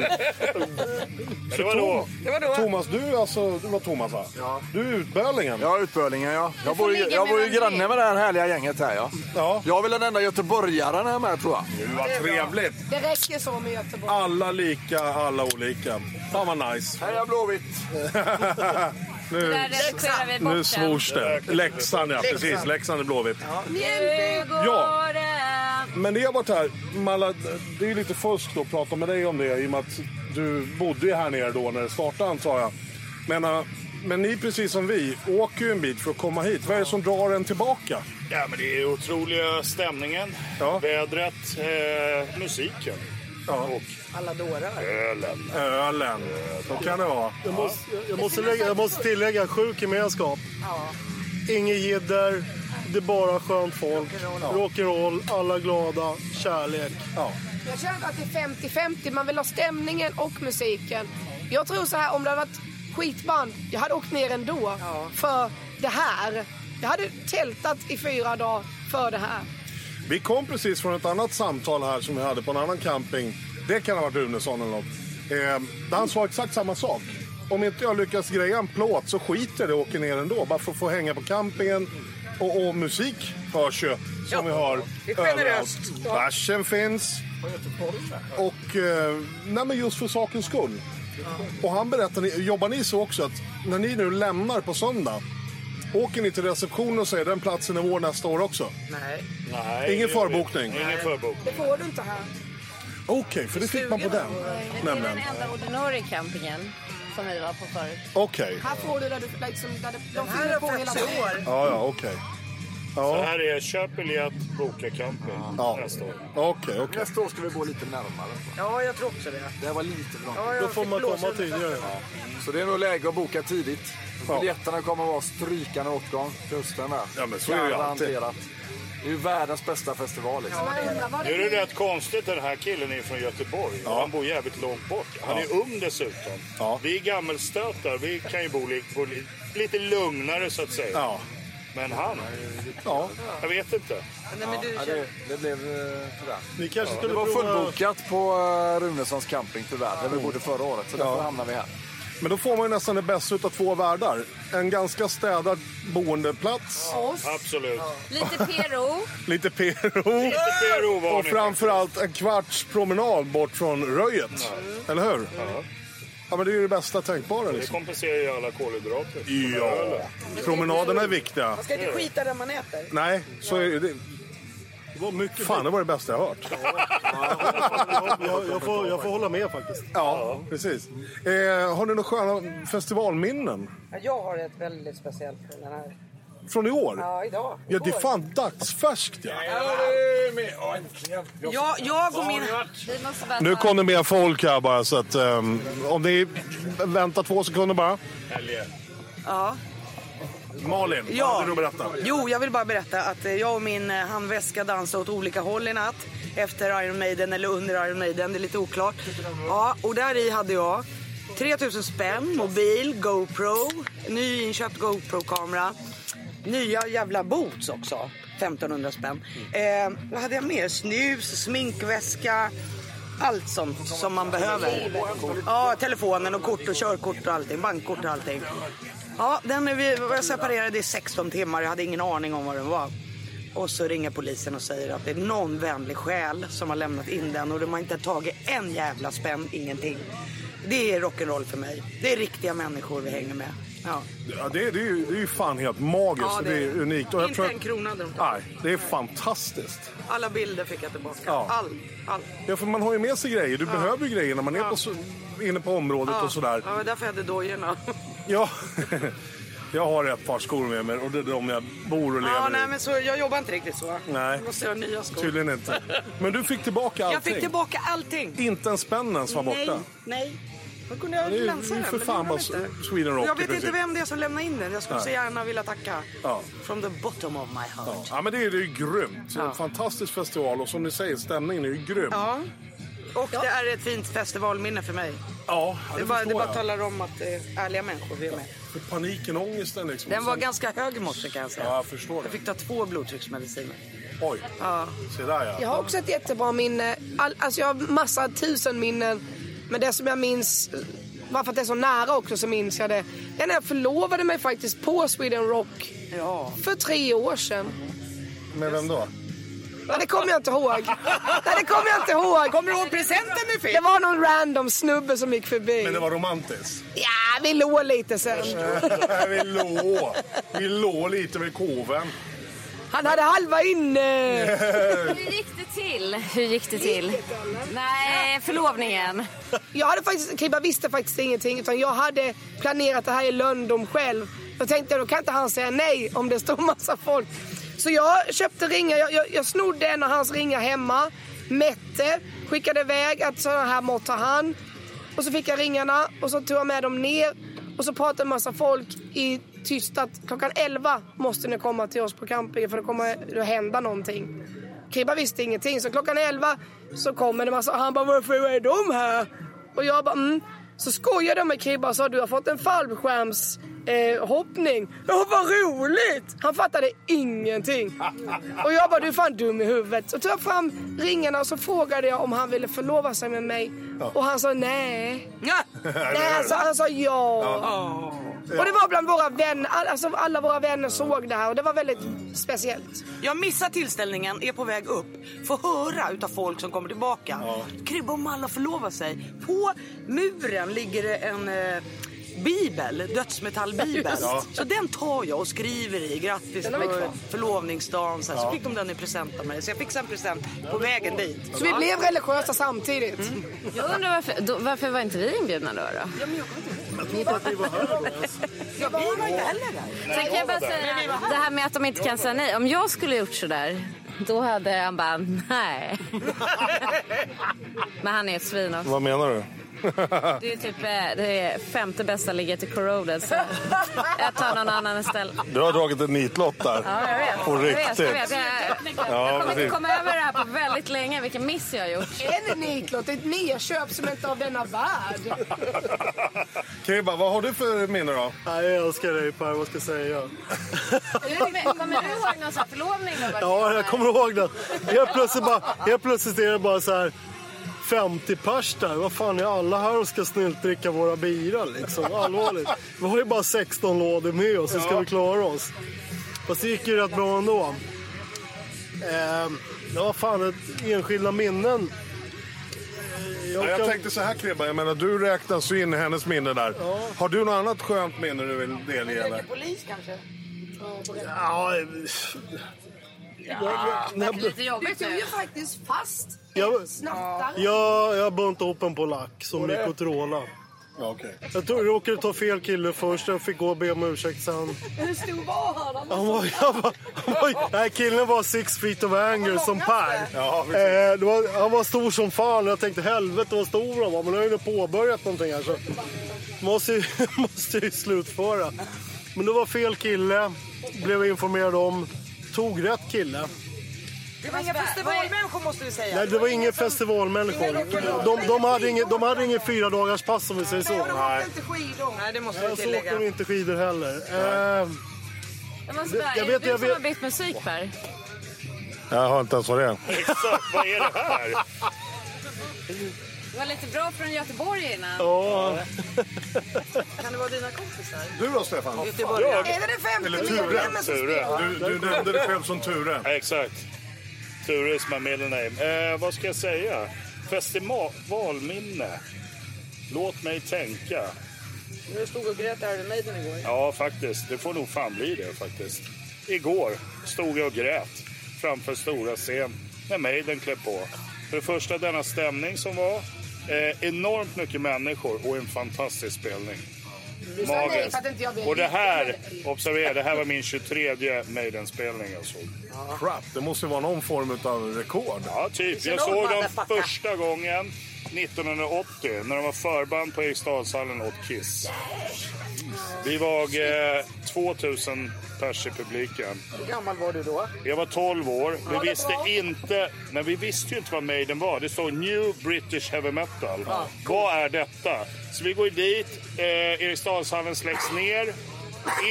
Det var då. Det var då. Thomas, du är alltså, det var Thomas va? Ja. Du är utbölingen. Ja, Utbölingen ja. Jag får bor, ligga ju- med jag bor ju vem du granne vill. med det här härliga gänget här ja. Ja. Jag är väl den enda göteborgaren här med tror jag. Gud, vad trevligt. Det räcker så med Göteborg. Alla lika, alla olika. Fan vad nice. Heja Blåvitt! Där redigerar vi bort Nu den. svors det. Leksand ja, precis. Leksand är Blåvitt. Nu Ja. går det. Men ni har varit här. Malla, det är ju lite fusk då att prata med dig om det i och med att du bodde ju här nere då när det startade antar jag. Men, äh, men ni precis som vi åker ju en bit för att komma hit. Vad är det som drar en tillbaka? Ja, men det är otroliga stämningen, Ja. vädret, eh, musiken. Ja, Alla dårar. ölen. Så kan det vara. Jag måste, jag måste, lägga, jag måste tillägga, sjuk gemenskap. Inget jidder, det är bara skönt folk. Rock'n'roll, alla glada, kärlek. Jag känner att det är 50-50. Man vill ha stämningen och musiken. Jag tror så här, om det hade varit skitband, jag hade åkt ner ändå. För det här. Jag hade tältat i fyra dagar för det här. Vi kom precis från ett annat samtal här som vi hade på en annan camping. Det kan ha varit Runesson eller något. Eh, där han sa exakt samma sak. Om inte jag lyckas greja en plåt så skiter jag i det och åker ner ändå. Bara för att få hänga på campingen. Och, och musik hörs ju, som vi hör överallt. Bärsen finns. Och eh, nej, men just för sakens skull. Och han berättade, jobbar ni så också att när ni nu lämnar på söndag Åker ni till receptionen och säger den platsen är vår nästa år också? Nej. Ingen förbokning? Det får du inte här. Okej, för det fick man på den. Men det är Nämligen. den enda ordinarie campingen som vi var på förut. Okej. Här får du där du liksom, där det- de fyller på hela tiden. Ja, ja, okej. Så här är köp biljett, boka camping Ja. nästa år. Okej, okej. Nästa år ska vi gå lite närmare. Ja, jag tror också det. Det här var lite bra. Ja, jag Då får fick man komma blåsa lite. tidigare. Så det är nog läge att boka tidigt. Biljetterna kommer att vara strykande åtgång till hösten där. Ja, men så är det ju alltid. Garanterat. Det är ju världens bästa festival. Liksom. Nu är det rätt konstigt, den här killen är från Göteborg. och Han bor jävligt långt bort. Han Ja. är ung dessutom. Vi är gammelstötar, vi kan ju bo li- på li- lite lugnare så att säga. Ja. Men han? Ja. Jag vet inte. Nej, men du Ja, kör... det, det blev eh, tyvärr. Ni kanske det skulle var prova- fullbokat på eh, Runessons camping tyvärr, där vi bodde förra året. Så därför hamnade vi här. Men då får man ju nästan det bästa av två världar. En ganska städad boendeplats, Absolut. Lite PRO. lite PRO, PRO var och ni. framförallt en kvarts promenad bort från röjet. Eller hur? Ja. Ja, men det är ju det bästa tänkbara. Det Liksom. kompenserar ju alla kolhydrater. Ja, promenaderna är viktiga. Man ska inte skita där man äter. Nej, så är det... Fan, det var det bästa jag hört. Jag, jag, får, jag får hålla med faktiskt. Ja, precis. Eh, har ni några sköna festivalminnen Ja, Jag har ett väldigt speciellt från den här. från i år? Ja, idag. Ja, det är Igår. fan dagsfärskt ja. Jag, jag får min... Vi måste vänta. Nu kom det mer folk här bara så att ehm, om ni väntar två sekunder bara. Ja. Malin, Ja. vad hade du att berätta? Jo, jag vill bara berätta att eh, jag och min eh, handväska dansade åt olika håll i natt. Efter Iron Maiden eller under Iron Maiden, det är lite oklart. Ja, och där i hade jag 3000 spänn, mobil, GoPro, nyinköpt GoPro-kamera. Nya jävla boots också, 1500 spänn. Eh, vad hade jag mer? Snus, sminkväska, allt sånt som man behöver. Ja, telefonen och kort och körkort och allting, bankkort och allting. Ja, den är vi var separerade i 16 timmar. Jag hade ingen aning om vad den var. Och så ringer polisen och säger att det är någon vänlig själ som har lämnat in den och de har inte tagit en jävla spänn, ingenting. Det är rock'n'roll för mig. Det är riktiga människor vi hänger med. Ja. Ja, det, är- det, är ju, det är ju fan helt magiskt och det är unikt. Och jag inte tror en att, krona hade de tagit. nej, det är fantastiskt. Alla bilder fick jag tillbaka. Ja. Allt. Allt. Ja, för man har ju med sig grejer. Du behöver ju grejer när man är Ja. på, så- inne på området och sådär. Ja, det var därför jag hade dojorna. Ja. Jag har ett par skor med mig och det är de jag bor och lever Ja, nej, i. men så, jag jobbar inte riktigt så. Nej. Jag måste ha nya skor. Tydligen inte. Men du fick tillbaka allting. Jag fick tillbaka allting. Inte en spännen som var borta. Nej, nej. Då kunde jag Det är ju glänsa den, för men det fan gjorde vad den inte. Sweden Rock Jag vet i inte princip. vem det är som lämnar in den. Jag skulle Nej. så gärna vilja tacka. Ja. From the bottom of my heart. Ja. ja, men det är det är ju grymt. Så En fantastisk festival och som ni säger, stämningen är ju grym. Ja. Och det är ett fint festivalminne för mig. Ja, Det, det bara, det förstår bara jag. talar om att det är ärliga människor vi är med. För paniken och ångesten liksom. Den var Sen- ganska hög i morse kan jag säga. Ja, jag förstår det. Jag fick ta två blodtrycksmediciner. Oj, Ja. se där ja. Jag har också ett jättebra minne. All, alltså jag har massa tusen minnen. Men det som jag minns, eh, bara för att det är så nära också så minns jag det. Det är när jag förlovade mig faktiskt på Sweden Rock Ja. för tre år sedan. Med vem då? Nej, det kommer jag inte ihåg. Nej, det kommer jag inte ihåg. Kommer du ihåg presenten du fick? Det var någon random snubbe som gick förbi. Men det var romantiskt. Ja, vi låg lite sen. vi låg. Vi låg lite vid koven. Han hade halva inne. Hur gick det till? Hur gick det till? Nej, förlovningen. Jag hade faktiskt, Kribba visste faktiskt ingenting utan jag hade planerat det här i Lundom själv. Då tänkte jag då kan inte han säga nej om det står massa folk. Så jag köpte ringar, jag, jag, jag snodde en av hans ringar hemma, mätte, skickade iväg att sådana här mått har han. Och så fick jag ringarna och så tog jag med dem ner och så pratade en massa folk i tyst att klockan 11 måste ni komma till oss på campingen för det kommer att hända någonting. Kribba visste ingenting. Så klockan 11 så kommer det massa... Han bara, varför är de här? Och jag bara, mm. Så skojade jag med Kribba och sa, du har fått en fallskärms... Eh, hoppning. Ja, vad roligt! Han fattade ingenting. Och jag bara, du är fan dum i huvudet. Så tog jag fram ringarna och så frågade jag om han ville förlova sig med mig. Och han sa nej. Ja. Nej, han sa, han sa ja. Ja. Och det var bland våra vänner. all- Alltså alla våra vänner såg det här och det var väldigt speciellt. Jag missar tillställningen, är på väg upp. Får höra utav folk som kommer tillbaka. Kribba och Malla förlovar sig. På muren ligger det en eh, bibel, dödsmetallbibel. Ja. Så den tar jag och skriver i. Grattis Den har vi på kvar. förlovningsdagen. Så, här. Ja. så fick de den i present av mig. Så jag fick en present på vägen dit. Så vi blev religiösa samtidigt. Mm. Jag undrar varför, då, varför var inte vi inbjudna då? då? alltså, Ja, vi var inte heller där. Sen kan jag bara säga, det här med att de inte kan säga nej. Om jag skulle gjort sådär, då hade han bara, nej. Men han är ett svin också. Vad menar du? Det är typ eh, det är femte bästa ligget i Corroded, så jag tar någon annan istället. Du har dragit en nitlott där. Ja, jag vet. På Jag vet, riktigt. jag, vet. Jag, jag Ja, kommer precis. inte komma över det här på väldigt länge, vilken miss jag har gjort. En nitlott, ett nerköp som inte är av denna värld. Kebba, vad har du för minne då? Nej, jag älskar dig Per, vad ska jag säga? Kommer, kommer du ihåg någon sån här förlovning? då? Ja, jag kommer ihåg det. Helt plötsligt, bara, helt plötsligt är det bara så här 50 pers där. Vad fan är alla här och ska snyltdricka våra bira liksom? Allvarligt. Vi har ju bara 16 lådor med oss, hur ska vi klara oss? Fast det gick ju rätt bra ändå. Ehm, ja, fan, ett- enskilda minnen. Jag, jag tänkte så här Kribba, jag menar du räknas ju in i hennes minne där. Har du något annat skönt minne du vill delge eller? Polis kanske? Ja, eh, Ja. Det är lite jobbigt Du är ju faktiskt fast jag, snattare. jag, jag buntade ihop en polack som gick och trålade. Ja, okej. Jag tror jag råkade ta fel kille först, jag fick gå och be om ursäkt sen. Hur stor var han? Han var, han var, han var, den här killen var six feet of anger som Per. Ja, precis. eh, det var, han var stor som fan och jag tänkte helvete vad stor han var. Men nu har jag ju påbörjat någonting här så måste ju, måste ju slutföra. Men det var fel kille, blev jag informerad om. Tog rätt kille. Det var inga festivalmänniskor måste vi säga. Nej, det var ingen festivalmänniskor. De, de hade ingen, de hade ingen fyra dagars pass om vi säger så. Nej, och de åkte inte skidor. Nej, det måste vi Nej, så åkte tillägga. de inte skidor heller. Eh, Jag måste bara, är Jag det vet, du jag som vet. har bytt musik Per? Jag har inte ens vad det är. Exakt, vad är det här? Det var lite bra från Göteborg innan. Kan det vara dina kompisar? Du då Stefan? Göteborg. Jag? Är det den femte Eller medlemmen Ture. som Ture. spelar? Du, du nämnde dig själv som Ture. Exakt. Ture is my middle name. Eh, vad ska jag säga? Festivalminne. Låt mig tänka. Du stod och grät Iron Maiden igår. Ja, faktiskt. Det får nog fan bli det faktiskt. Igår stod jag och grät framför stora scen när Maiden klev på. För det första denna stämning som var. Eh, enormt mycket människor och en fantastisk spelning. Du sa nej för att inte jag blev Och det här, observera, det här var min 23 Maiden-spelning alltså. jag såg. Crap, det måste ju vara någon form av rekord. Ja, typ. Jag såg dem första gången 1980 när de var förband på Eriksdalshallen åt Kiss. Vi var eh, 2000 pers i publiken. Hur gammal var du då? Jag var 12 år. Ja, det Vi visste var. inte, men vi visste ju inte vad Maiden var. Det stod New British Heavy Metal. Ja. Vad är detta? Så vi går dit. Eh, Eriksdalshallen släcks ner.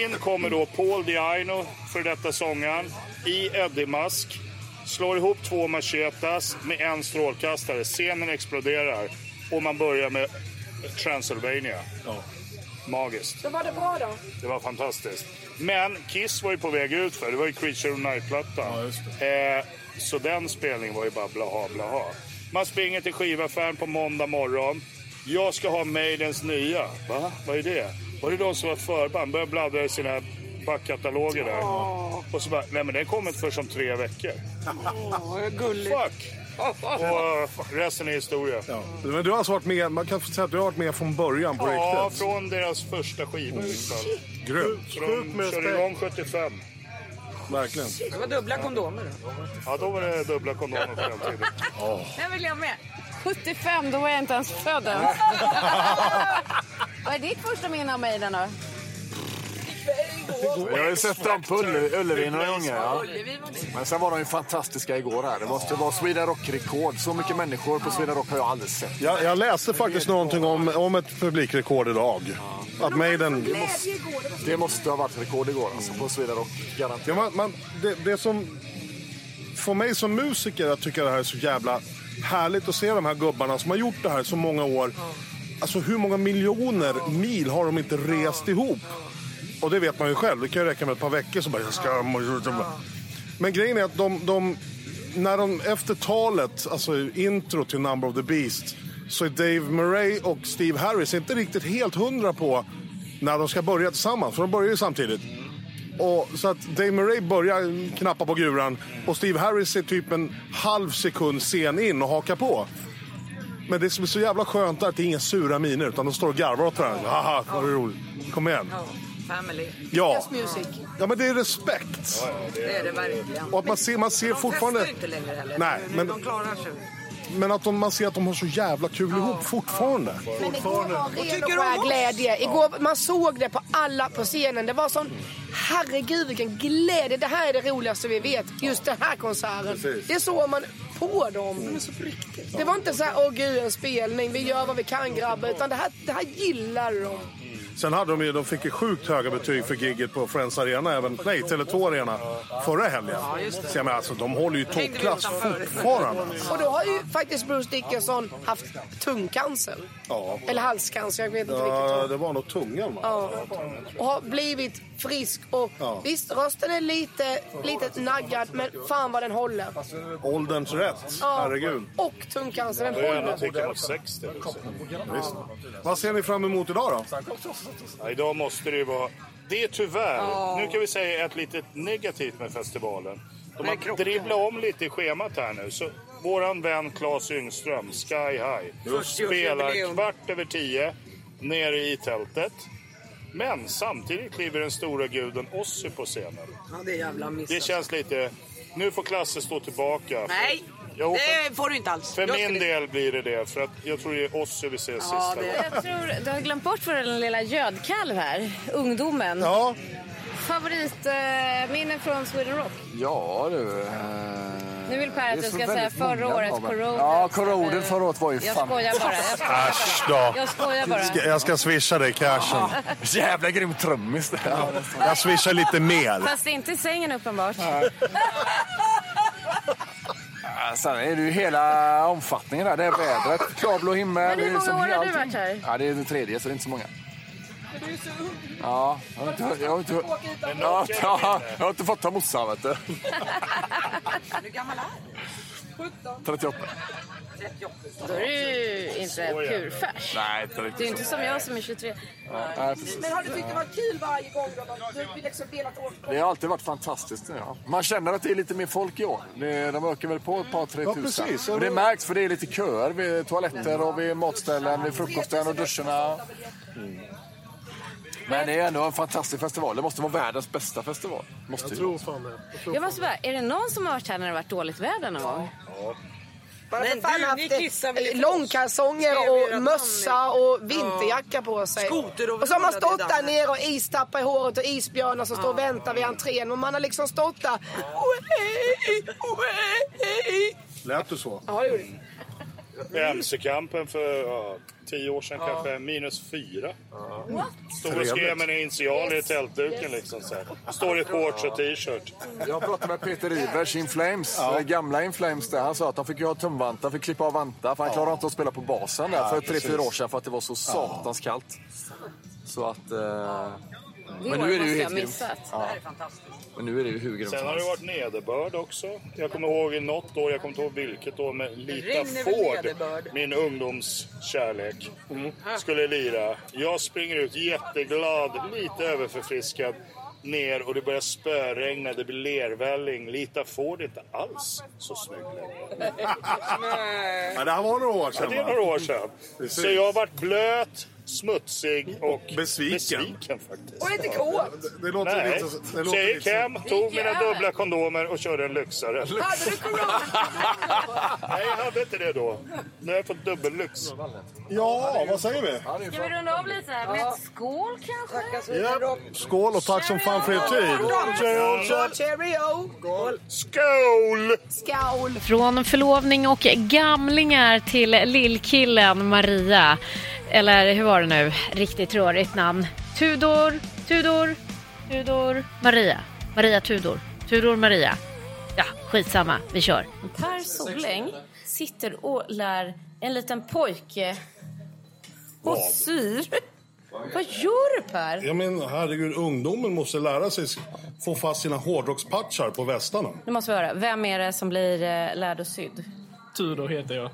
In kommer då Paul Diano, för detta sångaren, i Eddie-mask. Slår ihop två machetas med en strålkastare. Scenen exploderar och man börjar med Transylvania. Magiskt. Så var det bra då? Det var fantastiskt. Men Kiss var ju på väg ut för Det var ju Creature of Night-plattan. eh, så den spelningen var ju bara blaha, blaha. Man springer till skivaffären på måndag morgon. Jag ska ha Maidens nya. Va? Vad är det? Var det de som var förband? Börjar bladdra i sina backkataloger där. Och så bara, nej men den kommer inte förrän om tre veckor. Åh, gulligt. Fuck! Och eh, resten är historia. Ja, Men du har alltså varit med, man kan säga att du har varit med från början på riktigt. från deras första Liksom. skiva. i alla fall. Grymt. Så de körde igång 75. Verkligen. Det var dubbla kondomer. Ja, då var det dubbla kondomer på den tiden. Den vill jag med. 75, då var jag inte ens född än. Vad är ditt första minne av mig den då? Jag har ju sett dem på Ulle- Ullevi några gånger. Ja. Ullevi var det. Men sen var de ju fantastiska igår här. Det måste vara Sweden Rock-rekord. Så mycket människor på Sweden Rock har jag aldrig sett. Jag, jag läste faktiskt någonting om, om ett publikrekord idag. Att Maiden... Det måste, det måste ha varit rekord igår alltså, på Sweden Rock. Garanterat. Ja, man, man, det, det som får mig som musiker att tycka det här är så jävla härligt att se de här gubbarna som har gjort det här så många år. Alltså hur många miljoner mil har de inte rest ihop? Och det vet man ju själv. Det kan ju räcka med ett par veckor så bara jag ska... Men grejen är att de, de, när de efter talet, alltså intro till Number of the Beast, så är Dave Murray och Steve Harris inte riktigt helt hundra på när de ska börja tillsammans, för de börjar ju samtidigt. Och, så att Dave Murray börjar knappa på guran och Steve Harris är typ en halv sekund sen in och hakar på. Men det som är så jävla skönt är att det är inga sura miner utan de står och garvar åt varandra. Haha, vad roligt. Kom igen. Family. Ja. Just music. Ja, men det är respekt. Det är det verkligen. Och att man ser, man ser de fortfarande... testar inte längre heller. Nej, Nu- men- De klarar sig. Men att de, man ser att de har så jävla kul ihop fortfarande. Men igår var ren och tycker om skär oss? glädje. Igår, man såg det på alla på scenen. Det var sån, herregud vilken glädje. Det här är det roligaste vi vet. Just den här konserten. Precis. Det såg man på dem. Det, så riktigt. det var inte så här, åh gud en spelning, vi gör vad vi kan grabbar. Utan det här, det här gillar de. Sen hade de ju, de fick ju sjukt höga betyg för gigget på Friends Arena, även, nej Tele2 Arena, förra helgen. Så jag menar, alltså, de håller ju toppklass fortfarande. Och då har ju faktiskt Bruce Dickinson haft tungcancer. Ja. Eller halscancer, jag vet inte vilket. Ja, det var nog tungan va? Ja. Och har blivit frisk och Ja. visst rösten är lite, lite naggad men fan vad den håller. Ålderns rätt, Ja. herregud. Och tungcancer, den Då är jag håller. artikel på 60. liksom. Visst. Vad ser ni fram emot idag då? Ja, idag måste det ju vara... Det är tyvärr, nu kan vi säga ett litet negativt med festivalen. De har dribblat om lite i schemat här nu. Så våran vän Claes Yngström, Sky High, Just det. spelar Jubileum. kvart över tio nere i tältet. Men samtidigt kliver den stora guden Ozzy på scenen. Ja, det är jävla miss. alltså. Det känns lite... Nu får Klasse stå tillbaka. Nej, Jo, det får du inte alls. För Jag min skulle- del blir det det, för att jag tror det är Ozzy vi ser Ja, sista det... gången. Jag tror du har glömt bort vår lilla gödkalv här. Ungdomen. Ja. Favoritminnen från Sweden Rock? Ja du. eh, Nu vill Per det är att du så ska säga väldigt förra många årets av dem. Corroded. Ja, Corroded förra året var ju eh, Jag fan- skojar bara. Jag skojar bara. Äsch då. Jag skojar bara. Ska- Jag ska swisha dig cashen. Jävla grym trummis det Jag swishar lite mer. Fast det är inte i sängen uppenbart. Ja, Sen är det ju hela omfattningen där. Det här vädret, klarblå himmel. Men hur det är många år har du allting. varit här? Ja, det är den tredje, så det är inte så många. Du är så ung. Ja, jag har inte, jag har inte, ja, ja, jag har inte fått ta mossan, vet du. Hur gammal är du? 17. 38. Då är du ju inte purfärs. Nej, inte riktigt Det är ju inte som jag som är 23. Nej, precis. Men har du tyckt det varit kul varje gång då? man- Du vill liksom velat åka? Det har alltid varit fantastiskt. Ja. Man känner att det är lite mer folk i år. Det- De ökar väl på ett par, tre Ja, tusen. precis. Och det märks för det är lite köer vid toaletter och vid matställen, vid frukosten och duscherna. Mm. Men det är ändå en fantastisk festival. Det måste vara världens bästa festival. Måste jag tror fan det. Jag måste bara, är det någon som har varit här när det har varit dåligt väder någon gång? Men Alltså, Fan, du, haft ni kissar väl eh, i Långkalsonger Skrev era och namn mössa och vinterjacka på sig. Skoter och och så har man vrålar stått i där dammen. nere och istappar i håret och isbjörnar som står och väntar vid entrén. Och man har liksom stått där. Lät du så? Ja, det gjorde det. Mm. MC-kampen för ja, tio år sedan kanske, minus fyra. Stod och Trevligt. skrev mina initialer i tältduken liksom. Så här. Står i shorts och t-shirt. Mm. Jag pratade med Peter Ivers, In Flames, eh, gamla In Flames där. Han sa att de fick ju ha tumvantar, fick klippa av vantar för han klarade inte att spela på basen där Nej, för tre, precis. fyra år sedan för att det var så satans kallt. Så att... eh, Det Men nu är det måste ju jag helt ha grymt. missat. Ja. Men nu är det ju hur grymt Sen som har det helst. varit nederbörd också. Jag kommer ihåg i något år, jag kommer inte ihåg vilket år, men Lita regn är väl Ford, nederbörd? Ah. min ungdomskärlek, Mm. skulle lira. Jag springer ut jätteglad, lite överförfriskad, ner och det börjar spöregna, det blir lervälling. Lita Ford är inte alls så snygg längre. Ja, det här var några år Ja, sedan det är några år sedan. Precis. Så jag har varit blöt, smutsig och besviken, faktiskt. Och lite kåt. Det låter Nej. lite... Det låter så jag gick lite- hem, Det tog gick mina över. dubbla kondomer och körde en lyxare. Hade du corona? Nej, jag hade inte det då. Nu har jag fått dubbellyx. Ja, vad säger vi? Ska vi runda av lite här med ett skål kanske? Ja. Skål och tack som fan för er tid. oh, Cheerio! Skål! Skål! Från förlovning och gamlingar till lillkillen Maria. Eller hur var det nu? Riktigt rörigt namn. Tudor, Tudor, Tudor, Maria. Maria Tudor, Tudor Maria. Ja, skitsamma. Vi kör. Per Soläng sitter och lär en liten pojke åt syr. Vad gör du Per? Ja, men herregud, ungdomen måste lära sig sk- få fast sina hårdrockspatchar på västarna. Nu måste vi höra, vem är det som blir eh, lärd och sydd? Tudor heter jag.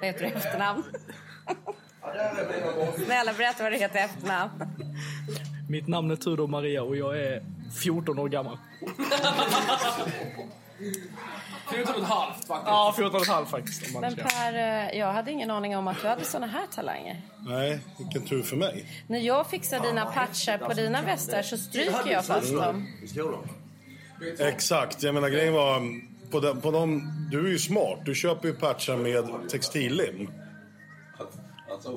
Vad heter du i efternamn? Snälla berätta vad du heter i efternamn. Mitt namn är Tudor Maria och jag är 14 år gammal. 14 och ett halvt faktiskt. Ja, 14 och ett halvt faktiskt. om man Men ska- Per, eh, jag hade ingen aning om att du hade såna här talanger. Nej, vilken tur för mig. När jag fixar dina patchar på dina västar så stryker jag fast dem. Exakt. Jag menar, grejen var... mm, På de, på de, du är ju smart. Du köper ju patchar med textillim.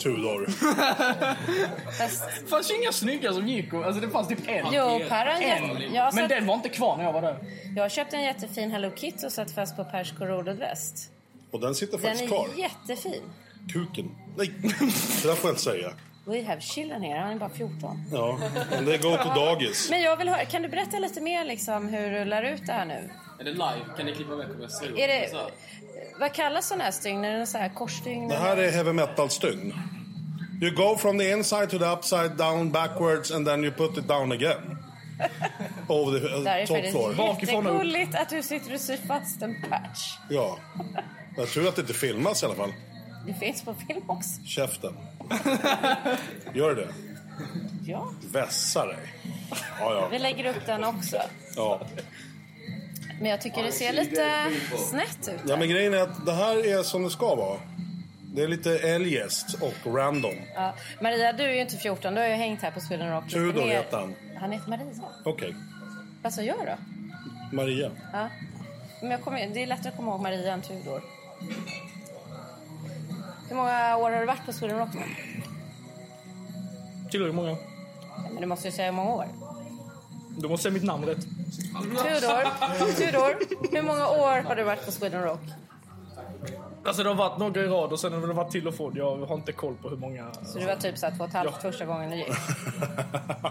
Tudor. Det fanns ju inga snygga som gick. och- Alltså det fanns typ en. Jo, Per har en. gett- jag har Men sett- den var inte kvar när jag var där. Jag köpte en jättefin Hello Kitty och satt fast på Pers korrododväst. Och den sitter Den faktiskt kvar. är jättefin. Kuken. Nej, det där får jag inte säga. We have children here. Han är bara 14. Ja, men det går på dagis. Men jag vill höra, kan du berätta lite mer liksom hur du lär ut det här nu? Är det live? Kan ni klippa med? Kommer jag sur? Är det, vad kallas sådana här stygn? Är det någon så här korsstygn? Det här är heavy metal-stygn. You go from the inside to the upside down backwards and then you put it down again. Over the Det här uh, top är floor. faktiskt jättegulligt att du sitter och syr fast en patch. Ja. Jag tror att det inte filmas i alla fall. Det finns på film också. Käften. Gör det? Ja. Vässa dig. Ja, Vi ja. lägger upp den också. ja. Men jag tycker det ser lite snett ut. Ja, men grejen är att det här är som det ska vara. Det är lite eljest och random. Ja. Maria, du är ju inte 14. Du har ju hängt här på Sweden Rock. lite Tudor mer. heter han. Han heter Maria. Okej. Vad sa jag då? Maria. Ja. Men jag kommer, det är lättare att komma ihåg Maria än Tudor. Hur många år har du varit på Sweden Rock nu? Tillräckligt många. Ja, Men du måste ju säga hur många år. Du måste säga mitt namn rätt. Tudor, Tudor, hur många år har du varit på Sweden Rock? Alltså det har varit några i rad och sen har det varit till och från. Jag har inte koll på hur många... Så du var typ så här två och ett halvt första gången du gick.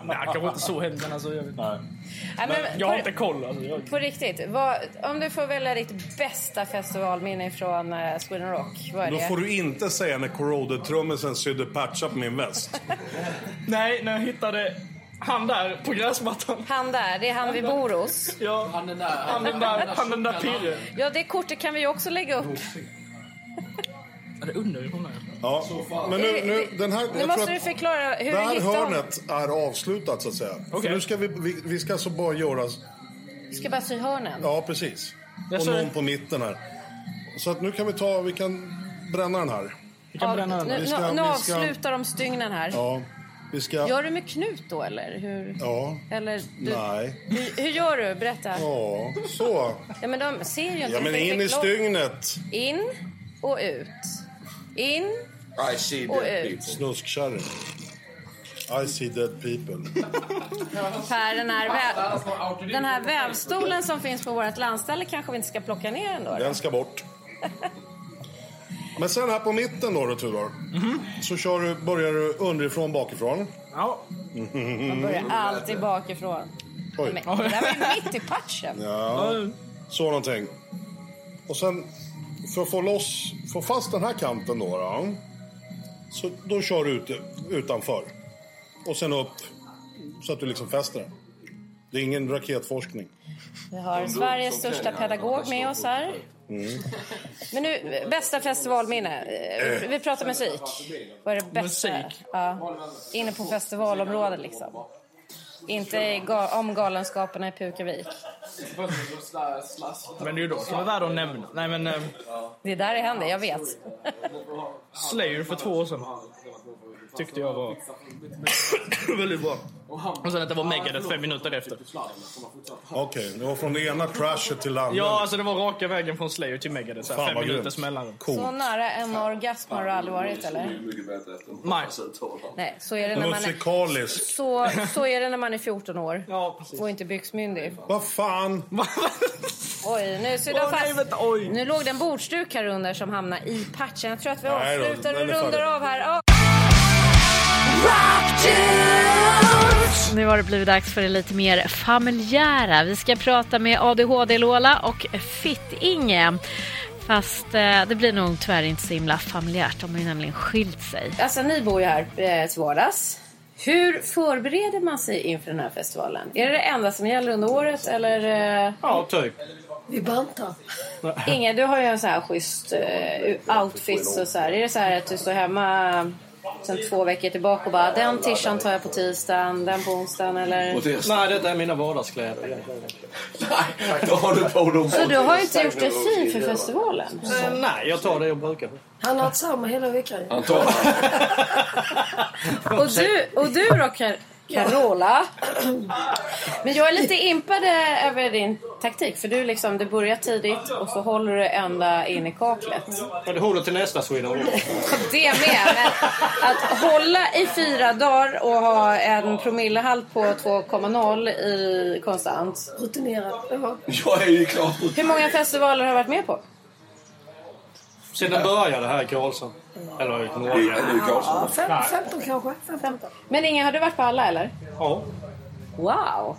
Nej, kanske inte så hemskt men alltså jag vet inte. Nej, men, Jag har på, inte koll alltså. Jag... på riktigt, vad, om du får välja ditt bästa festivalminne från eh, Sweden Rock, vad är Då det? får du inte säga när Corroded-trummisen sydde patchar på min väst. Nej, när jag hittade han där på gräsmattan. Han där, det är han vi bor hos. Ja, han den där, han den där, han den där pirren. Ja, det kortet kan vi ju också lägga upp. Det undrar ju honom. Ja. Men nu, nu, den här, Eh, Nu jag måste tror du att förklara hur det du här hittade honom. hörnet är avslutat så att säga. För nu ska vi, vi, vi ska alltså bara göra... Du ska bara sy hörnen. Ja, precis. Jag Och ser- någon på mitten här. Så att nu kan vi ta, vi kan bränna den här. Vi Ja, nu, nu, nu avslutar de stygnen här. Ja, vi ska... Gör du med knut då eller? Hur, Ja. eller du, Nej. hur, hur gör du? Berätta. Ja, så. Ja, men de ser ju inte. Ja, men Det är in i klart. stygnet. In och ut. In. I see dead Och ut. people. Snuskkärring. I see dead people. Per, den här, väv, den här vävstolen som finns på vårt landställe kanske vi inte ska plocka ner ändå. Då. Den ska bort. Men sen här på mitten då, då Tudor. Mhm. Så kör du, börjar du underifrån bakifrån. Ja. Man börjar alltid bakifrån. Mm. Oj. Men, det där var ju mitt i patchen. Ja, så någonting. Och sen, för att få loss, få fast den här kanten då, då så då kör du ut, utanför. Och sen upp, så att du liksom fäster den. Det är ingen raketforskning. Vi har Sveriges största pedagog med oss här. Mm. Men nu, bästa festivalminne. Eh, Vi pratar musik. Vad är det bästa? Musik. Ja. Inne på festivalområdet liksom. Inte i ga- om Galenskaparna i Pukavik. Men det är ju då som är värd att nämna. Nej men... Eh, Det är där det händer, jag vet. Slayer för två år sedan. Tyckte jag var väldigt bra. Och sen att det var Megadeth fem minuter efter. Okej, det var från det ena crashet till det andra. Ja, alltså det var raka vägen från Slayer till Megadeth. Så Fan, här, fem vad minuters grymt. mellanrum. Så nära en orgasm har du aldrig varit eller? Nej. Nej, så är det när man är, Musikalisk. så, så är, det när man är 14 år. Och inte byxmyndig. Vad fan! Oj, nu suddar fast. Nu låg det en bordsduk här under som hamnade i patchen. Jag tror att vi Nej då, avslutar och den är färdig. rundar av här. Ja. Nu har det blivit dags för det lite mer familjära. Vi ska prata med ADHD-Lola och Fitt-Inge. Fast eh, det blir nog tyvärr inte så himla familjärt. De har ju nämligen skilt sig. Alltså ni bor ju här eh, till vardags. Hur förbereder man sig inför den här festivalen? Är det det enda som gäller under året eller? Eh... Ja, typ. Vi bantar. Inge, du har ju en sån här schysst eh, outfit och så här. Är det så här att du står hemma sen två veckor tillbaka och bara den tishan tar jag på tisdagen, den på onsdagen eller... Eh, Nej, detta är mina vardagskläder. Nej, då har du på dem. Så du har ju inte gjort dig fin för festivalen? Eh, Nej, jag tar det jag brukar. Han har haft samma hela veckan. Han tar Och du, och du då Car- Carola? Men jag är lite impad eh, över din taktik för du liksom, du börjar tidigt och så håller du ända in i kaklet. Men det håller till nästa Sweden Rock. Det med, men att hålla i fyra dagar och ha en promillehalt på 2,0 i konstant. Rutinerat. Ja. Jag är ju klar. Hur många festivaler har du varit med på? Sedan började det här i Karlsson. Eller i Norge. Ja, fem, Nej. 15 kanske. 15. Men Inga, har du varit på alla eller? Ja. Wow!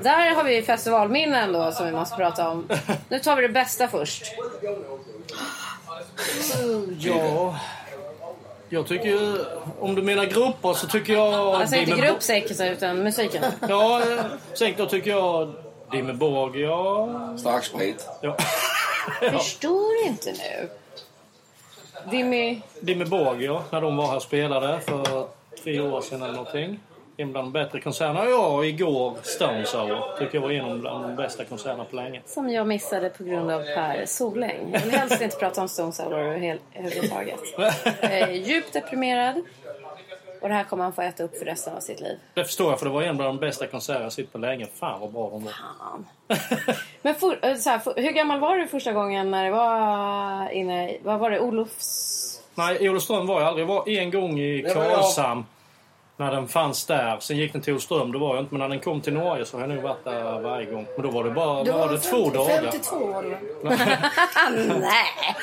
Där har vi festivalminnen då som vi måste prata om. Nu tar vi det bästa först. Ja. Jag tycker ju... Om du menar grupper så tycker jag... Alltså inte Dimmerborg- gruppsäcken utan musiken. Ja, eh, säkert då tycker jag... Dimmerborg, ja... Stark sprit. Ja. Förstår inte nu. Dimmy... Dimmerborg, ja. När de var här och spelade för tre år sedan eller någonting. En bland de bättre konserterna. Ja, och igår Stones Hour. Tycker jag var en av de bästa konserterna på länge. Som jag missade på grund av Per Soläng. Jag vill helst inte prata om Stones Sour överhuvud- överhuvudtaget. Jag är djupt deprimerad. Och det här kommer han få äta upp för resten av sitt liv. Det förstår jag, för det var en av de bästa konserterna jag sett på länge. Fan vad bra de var. Men for, eh, så här, for, hur gammal var du första gången när det var inne i... Vad var det? Olofs... Nej, i Olofström var jag aldrig. Jag var en gång i Det var jag. Karlshamn. När den fanns där. Sen gick den till Olofström, det var jag inte. Men när den kom till Norge så har jag nog varit där varje gång. Men då var det bara Du var det två 50 dagar. 52 var du va? Nej!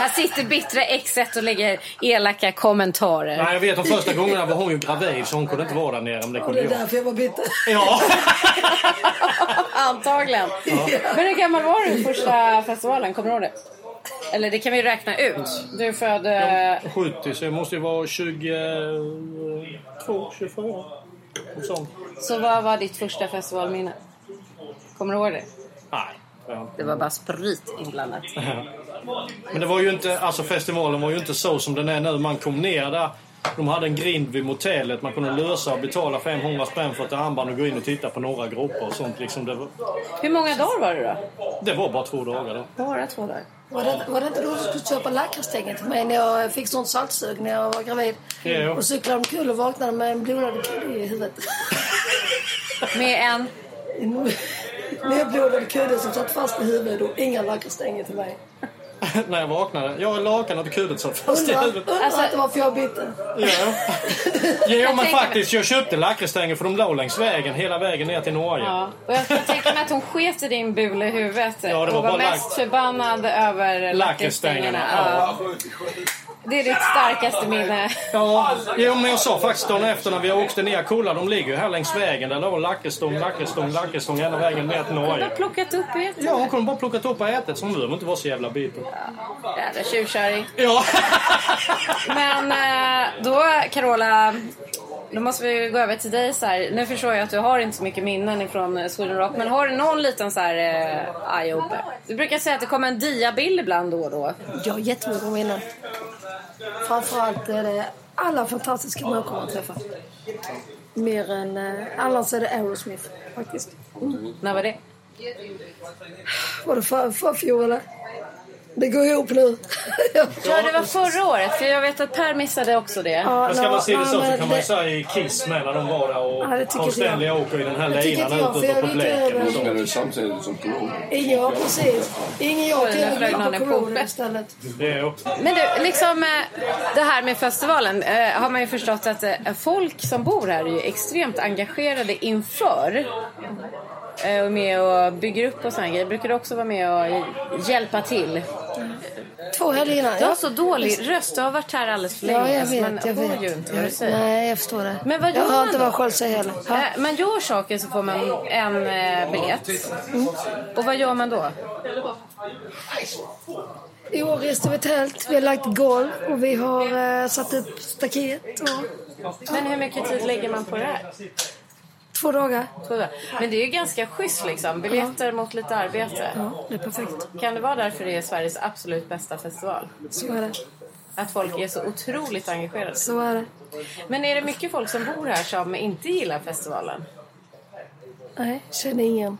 Här sitter bittra exet och lägger elaka kommentarer. Nej, jag vet de första gångerna var hon ju gravid så hon kunde inte vara där nere. Men det Det kunde är jag. därför jag var bitter. Ja. Antagligen. Men hur gammal var du första festivalen? Kommer du ihåg det? Eller det kan vi räkna ut. Du är född... eh, 70, så jag måste ju vara 22, 24. något sånt. Så vad var ditt första festivalminne? Kommer du ihåg det? Nej. Ja. Det var bara sprit inblandat. Men det var ju inte, alltså festivalen var ju inte så som den är nu. Man kom ner där. De hade en grind vid motellet. Man kunde lösa och betala 500 spänn för ett armband och gå in och titta på några grupper och sånt. Liksom det, var, Hur många dagar var det då? det var bara två dagar då. Bara två dagar. Var det, var det inte då du skulle köpa lakritsstängen till mig när jag fick sånt saltsug när jag var gravid? Ja, ja. Och cyklade omkull och vaknade med en blodad kudde i huvudet. Med en? Med blodad kudde som satt fast i huvudet och inga lakritsstänger till mig. När jag vaknade. Jag lakanet och kudet satt fast i Undrar huvudet. undrar Alltså- inte varför jag är bitter. Ja. ja, men faktiskt. Jag köpte lakritsstänger för de låg längs vägen hela vägen ner till Norge. Ja. Och jag kan tänka mig att hon sket i din bula i huvudet var och var bara lack- mest förbannad över lakritsstängerna. Lakritsstängerna, Ja. Det är ditt starkaste minne. Ja, jo, men jag sa faktiskt dagen efter när vi åkte ner och kollade. De ligger ju här längs vägen. Där låg lakritsstång, lakritsstång, lakritsstång hela vägen ner till Hon har Norge. plockat upp i ett. Ja, hon kunde bara plockat upp och ätit. Så hon behöver inte vara så jävla bitter. Jävla tjuvkärring. Ja. Men eh, då Carola, då måste vi ju gå över till dig så här. Nu förstår jag att du har inte så mycket minnen ifrån eh, Sweden Rock, men har du någon liten så här eh, eye-opener? Du brukar säga att det kommer en diabild ibland då och då. Jag har jättemycket minnen. Framförallt är det alla fantastiska människor man träffar. Mer än... eh, Annars är det Aerosmith faktiskt. Mm. När var det? Var det för, för fjol eller? Det går ihop nu. ja, Ja, det var förra året, för jag vet att Per missade också det. Men ska man se det så så kan man ju säga i Kiss med när de var där Ja, det tycker och Tom inte jag. Stanley åker i den här Det tycker linan inte jag, ut för jag uppe på är lite bläken och överraskad. sånt. Spelar du samtidigt som Polen? Ja, precis. Ingen jag Oj, nu flög någon i till kommunen istället. Men du, liksom eh, det här med festivalen eh, har man ju förstått att eh, folk som bor här är ju extremt engagerade inför. Eh, och med och bygger upp och sådana grejer. Brukar du också vara med och hj- hjälpa till? Två helger innan. Du har ja. så dålig röst. Du har varit här alldeles för Ja, länge. jag alltså, vet. man jag hör vet. ju inte jag vad du vet. säger. Nej, jag förstår det. Men vad jag gör har man inte då? vad jag själv säger heller. Eh, Man gör saker så får man en eh, biljett. Mm. Och vad gör man då? I år reste vi tält, vi har lagt golv och vi har eh, satt upp staket. Och, Men hur mycket tid lägger man på det här? Två dagar. Två dagar. Men det är ju ganska schysst liksom. Biljetter mot lite arbete. det är perfekt. Kan det vara därför det är Sveriges absolut bästa festival? Så är det. Att folk är så otroligt engagerade. Så är det. Men är det mycket folk som bor här som inte gillar festivalen? Nej, känner ingen.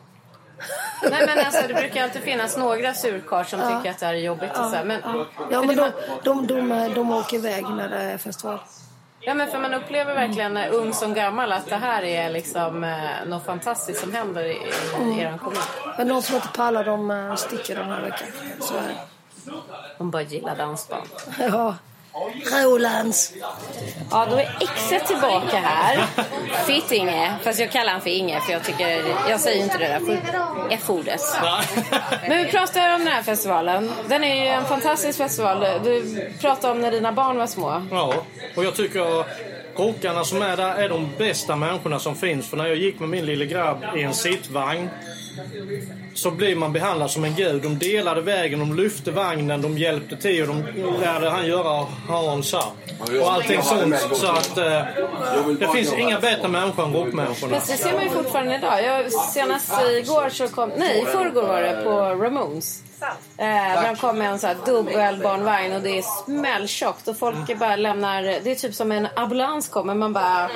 Nej men alltså det brukar alltid finnas några surkar som Ja. tycker att det här är jobbigt och Ja, så här. Men, ja. Ja, men de, de, de, de åker iväg när det är festival. Ja men för man upplever verkligen eh, ung som gammal att det här är liksom eh, något fantastiskt som händer i, Mm. i eran kommun. Men de som inte pallar, de eh, sticker den här veckan. Så är det. De bara gillar dansband. Ja. Rolands. Ja, då är Exe tillbaka här. Fittinge. Fast jag kallar han för Inge för jag tycker... Jag säger inte det där för- F-ordet. Men vi pratar om den här festivalen. Den är ju en fantastisk festival. Du pratade om när dina barn var små. Ja, och jag tycker rockarna som är där är de bästa människorna som finns. För när jag gick med min lille grabb i en sittvagn så blev man behandlad som en gud. De delade vägen, de lyfte vagnen, de hjälpte till och de lärde han göra Hans up. Och allting sånt. Så att eh, det finns inga bättre människor än rockmänniskorna. Fast det ser man ju fortfarande idag. Jag, senast igår så kom... Nej, i förrgår var det på Ramones. Eh, när de kom med en sån här dubbelbarnvagn och det är smälltjockt och folk Mm. är bara lämnar... Det är typ som en ambulans kommer. Man bara...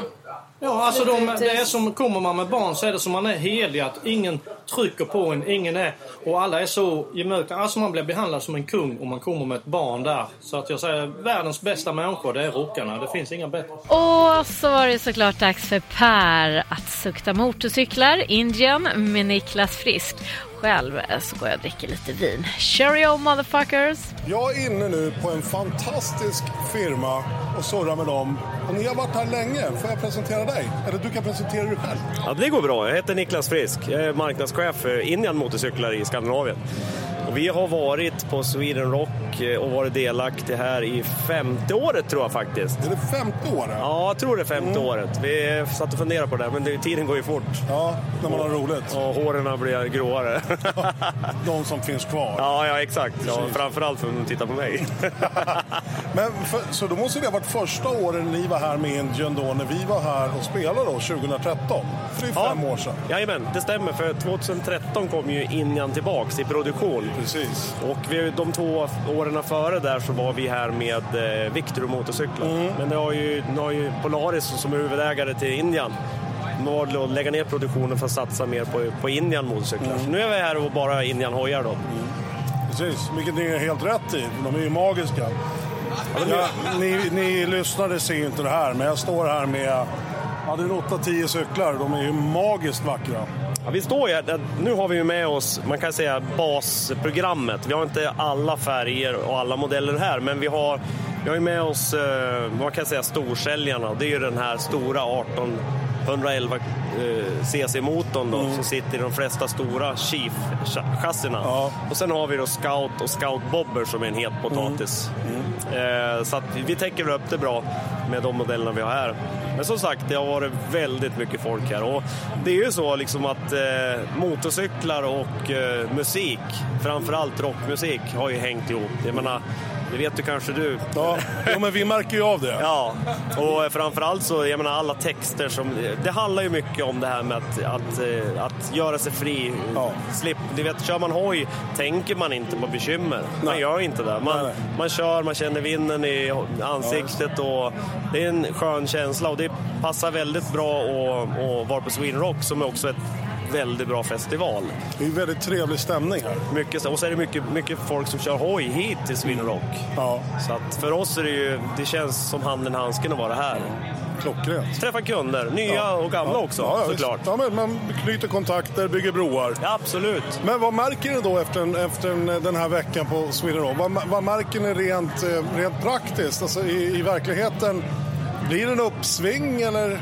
Ja, alltså de, det är som, kommer man med barn så är det som man är helig, att ingen trycker på en, ingen är, och alla är så gemytliga. Alltså man blir behandlad som en kung om man kommer med ett barn där. Så att jag säger, världens bästa människor, det är rockarna. Det finns inga bättre. Och så var det såklart dags för Per att sukta motorcyklar, Indien med Niklas Frisk. Själv eh, så går jag och dricker lite vin. Cheerio motherfuckers! Jag är inne nu på en fantastisk firma och surrar med dem. Och ni har varit här länge. Får jag presentera dig? Eller du kan presentera dig själv. Ja, det går bra. Jag heter Niklas Frisk. Jag är marknadschef för Indian Motorcyklar i Skandinavien. Och vi har varit på Sweden Rock eh, och varit delaktiga här i femte året tror jag faktiskt. Är det femte året? Mm. Ja, jag tror det är femte året. Vi satt och funderade på det, men det, tiden går ju fort. Ja, när man har roligt. Och håren blir gråare. De som finns kvar. Ja, ja exakt. Ja, Precis. framförallt för att de tittar på mig. Men för, så då måste det ha varit första åren ni var här med Indien då när vi var här och spelade då 2013. För det är fem år sedan. Jajamän, det stämmer. För 2013 kom ju Injan tillbaks i produktion. Precis. Och vi, de två åren före där så var vi här med eh, Victor och motorcyklar. Mm. Men det har ju, nu har ju Polaris som är huvudägare till Injan de valde att lägga ner produktionen för att satsa mer på, på Indian motorcyklar. Så nu är vi här och bara Indian hojar då. Mm. Precis, vilket ni är helt rätt i. De är ju magiska. Ja, ni, ni lyssnare ser ju inte det här, men jag står här med ja, det är 8-10 cyklar. De är ju magiskt vackra. Ja, vi står ju här, nu har vi ju med oss, man kan säga basprogrammet. Vi har inte alla färger och alla modeller här, men vi har, vi har ju med oss, eh, vad kan jag säga, storsäljarna. Det är ju den här stora 1811 eh, cc-motorn då, som sitter i de flesta stora Chief-chassina. Och sen har vi då Scout och Scout Bobber som är en het potatis. Eh, så att vi täcker upp det bra med de modellerna vi har här. Men som sagt, det har varit väldigt mycket folk här. Och det är ju så liksom att eh, motorcyklar och eh, musik, framförallt rockmusik, har ju hängt ihop. Jag menar, det vet du kanske du. Ja, men vi märker ju av det. ja, och eh, framförallt så, jag menar alla texter som... Det handlar ju mycket om det här med att, att, eh, att göra sig fri. Slipp, du vet, kör man hoj tänker man inte på bekymmer. Man gör inte det. Man, man kör, man känner vinden i ansiktet och det är en skön känsla och det passar väldigt bra att att vara på Sweden Rock som är också ett väldigt bra festival. Det är väldigt trevlig stämning här. Mycket, och så är det mycket, mycket folk som kör hoj hit till Sweden Rock. Så att för oss är det ju, det känns som handen i handsken att vara här. Klockrent. Träffa kunder, nya Ja. och gamla Ja. också Ja, ja, visst. såklart. Ja, men man knyter kontakter, bygger broar. absolut. Men vad märker ni då efter, en, efter en, den här veckan på Sweden Rock? Vad, vad märker ni rent, eh, rent praktiskt, alltså i, i verkligheten? Blir det en uppsving eller?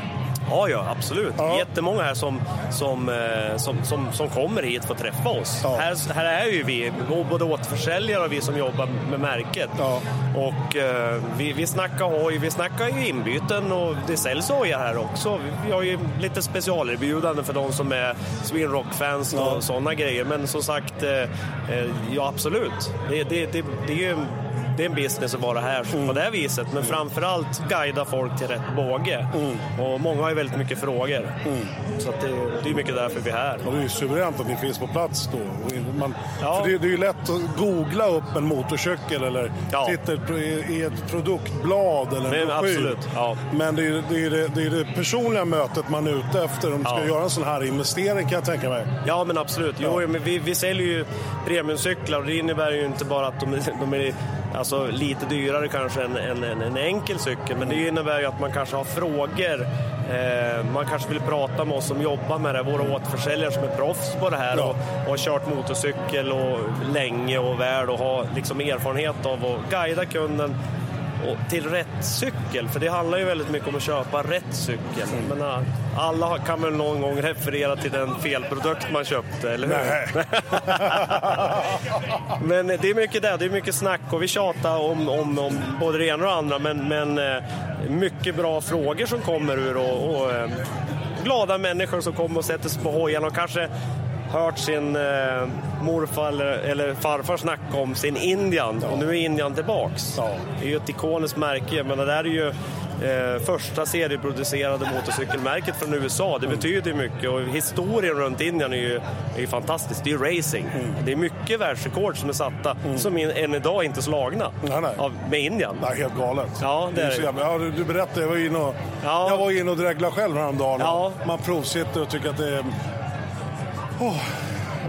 Ja, ja, absolut. Jättemånga här som, som, eh, som, som, som kommer hit för att träffa oss. Här, här är ju vi, både återförsäljare och vi som jobbar med märket. Och eh, vi, vi snackar hoj, vi snackar ju inbyten och det säljs hojar här också. Vi, vi har ju lite specialerbjudanden för de som är Sweden Rock-fans och sådana grejer. Men som sagt, eh, eh, ja absolut. Det, det, det, det är ju det är en business att vara här på det här viset. Men framförallt guida folk till rätt båge. Och många har ju väldigt mycket frågor. Så att det, det är mycket därför vi är här. Och det är ju suveränt att ni finns på plats då. Och Man, för det, det är ju lätt att googla upp en motorcykel eller titta på- i, i ett produktblad eller en Men broschyr. absolut, ja. Men det är ju det, är ju det, det, är ju det personliga mötet man är ute efter om du ska Ja. göra en sån här investering kan jag tänka mig. Ja, men absolut. Jo, men vi, vi säljer ju premiumcyklar och det innebär ju inte bara att de, de är alltså, lite dyrare kanske än en, en, en enkel cykel, men det innebär ju att man kanske har frågor. Eh, man kanske vill prata med oss som jobbar med det, här, våra återförsäljare som är proffs på det här och, och har kört motorcykel och länge och väl och har liksom erfarenhet av att guida kunden och till rätt cykel, för det handlar ju väldigt mycket om att köpa rätt cykel. Men, eh, alla har- kan väl någon gång referera till den felprodukt man köpte, eller hur? men det är mycket det, det är mycket snack och vi tjatar om, om, om både det ena och det andra men, men eh, mycket bra frågor som kommer ur och, och eh, glada människor som kommer och sätter sig på hojen och kanske hört sin eh, morfar eller, eller farfar snacka om sin Indian och nu är Indian tillbaks. Det är ju ett ikoniskt märke, jag menar det här är ju eh, första serieproducerade motorcykelmärket från USA. Mm. Det betyder ju mycket och historien runt Indien är ju, är ju fantastisk. Det är ju racing. Mm. Det är mycket världsrekord som är satta som in, än idag inte är slagna Av, med Indien. Det är helt galet. Ja, det är så det. jävla- ja, du, du berättade, jag var inne och, jag var inne och dreglade själv häromdagen. Ja. Man provsitter och tycker att det är... Åh,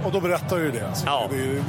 och då berättar jag ju det. Så Det, är-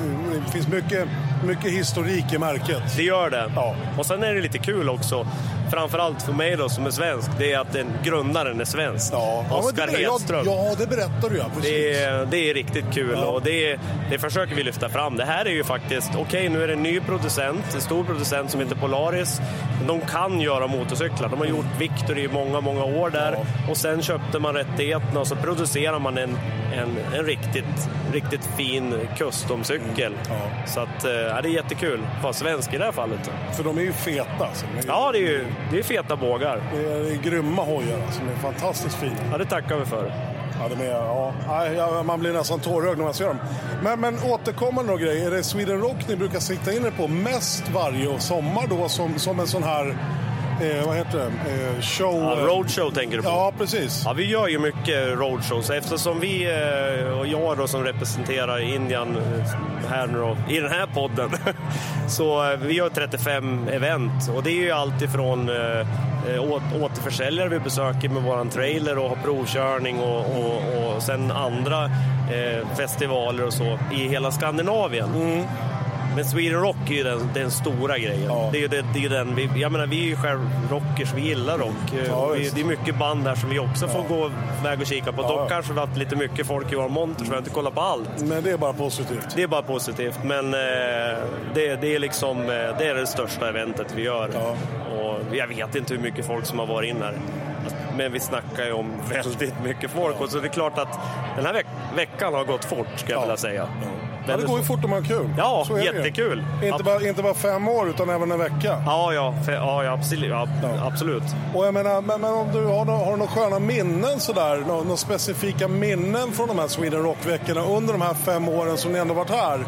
det finns mycket, mycket historik i märket. Det gör det. Och sen är det lite kul också, framförallt för mig då som är svensk, det är att den, grundaren är svensk. Ja, men Oskar det, ja, Hedström. ja, det berättar du ja. Precis. Det är, det är riktigt kul och det, det försöker vi lyfta fram. Det här är ju faktiskt, okej nu är det en ny producent, en stor producent som heter Polaris. De kan göra motorcyklar, de har gjort Victor i många, många år där. Och sen köpte man rättigheterna och så producerar man en, en, en riktigt, riktigt fin custom-cykel. Mm, Så att, eh, ja, det är jättekul, fast svensk i det här fallet. För de är ju feta. Alltså. Ja, det är ju det är feta bågar. Det är, det är grymma hojar alltså. De är fantastiskt fina. Ja, det tackar vi för. Ja, de är, ja. Nej, ja, man blir nästan tårögd när man ser dem. Men, men återkommer några grejer. Är det Sweden Rock ni brukar sikta in er på mest varje sommar då som, som en sån här, eh, vad heter det, eh, show? Ja, roadshow tänker du på? Ja, precis. Ja, vi gör ju mycket roadshows eftersom vi eh, och jag då som representerar Indien eh, här nu då, i den här podden. Så eh, vi gör 35 event och det är ju allt ifrån eh, å- återförsäljare vi besöker med våran trailer och har provkörning och, och, och sen andra eh, festivaler och så i hela Skandinavien. Mm. Men Sweden Rock är ju den, den stora grejen. Det är ju det, det är ju den, vi, jag menar, vi är ju själv rockers, vi gillar rock. Ja, eh, vi, visst. det är mycket band här som vi också får gå iväg och kika på. Ja, ja. Dock kanske vi har haft lite mycket folk i vår monter så vi har inte kollat på allt. Men det är bara positivt. Det är bara positivt, men eh, det, det, är liksom, eh, det är det största eventet vi gör. Och jag vet inte hur mycket folk som har varit in här. Men vi snackar ju om väldigt mycket folk. Och så det är klart att den här veck veckan har gått fort, ska jag vilja säga. Ja, det går ju fort om man har kul. Ja, Så är det ju. jättekul. Inte bara, inte bara fem år utan även en vecka. Ja, ja, fe- ja, ja, absolut. Ja, absolut. Och jag menar, men, men om du har, nå- har du några sköna minnen sådär, några, några specifika minnen från de här Sweden Rock-veckorna under de här fem åren som ni ändå varit här,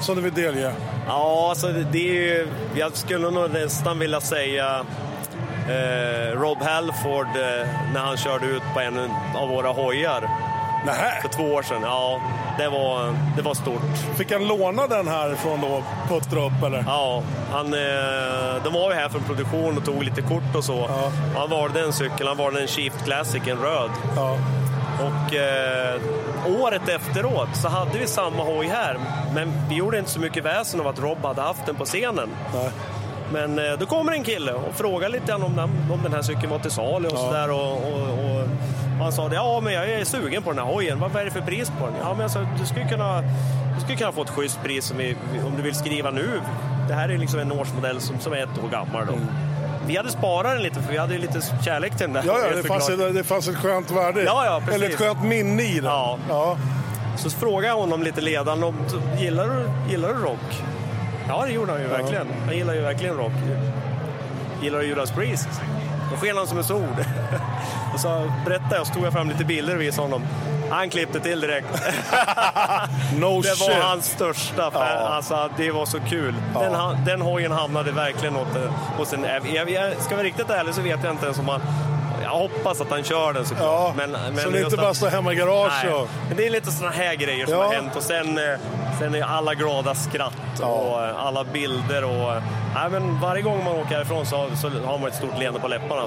som du vill delge? Ja, alltså det, det är ju, jag skulle nog nästan vilja säga eh, Rob Halford eh, när han körde ut på en av våra hojar. Nähä. För två år sedan, ja. Det var, det var stort. Fick han låna den här från då Puttrup eller? Ja, han, eh, de var ju här från produktion och tog lite kort och så. Han valde en cykel, han valde en Chief Classic, en röd. Och eh, året efteråt så hade vi samma hoj här, men vi gjorde inte så mycket väsen av att Rob hade haft den på scenen. Men eh, då kommer en kille och frågar lite grann om den, om den här cykeln var till salu och sådär. Och, och, och, han sa det, ja men jag är sugen på den här hojen, vad vad är det för pris på den? Ja men alltså, du skulle kunna, du skulle kunna få ett schysst pris om, vi, om du vill skriva nu. Det här är liksom en årsmodell som, som är ett år gammal Mm. då. Vi hade sparat den lite för vi hade ju lite kärlek till den där. Ja, ja det, såklart. fanns ett, det fanns ett skönt värde i. Ja, ja, precis. Eller ett skönt minne i den. Ja. ja. Så frågade jag honom lite ledande om gillar du, gillar du rock? Ja, det gjorde han ju verkligen. Han gillar ju verkligen rock. Gillar du Judas Priest? Då sken han som en sol. och så berättade jag, så tog jag fram lite bilder och visade honom. Han klippte till direkt. No det shit. var hans största fan. Alltså, det var så kul. Den, ha- den hojen hamnade verkligen åt, hos en... Jag, jag, ska jag vara riktigt ärlig så vet jag inte ens om han... Jag hoppas att han kör den såklart. Ja, men, så det just inte att- bara står hemma i garage Nej. och- Men det är lite sådana här grejer som Ja. har hänt och sen, eh, sen är alla glada skratt och eh, alla bilder och... Nej, men varje gång man åker härifrån så, har- så har man ett stort leende på läpparna.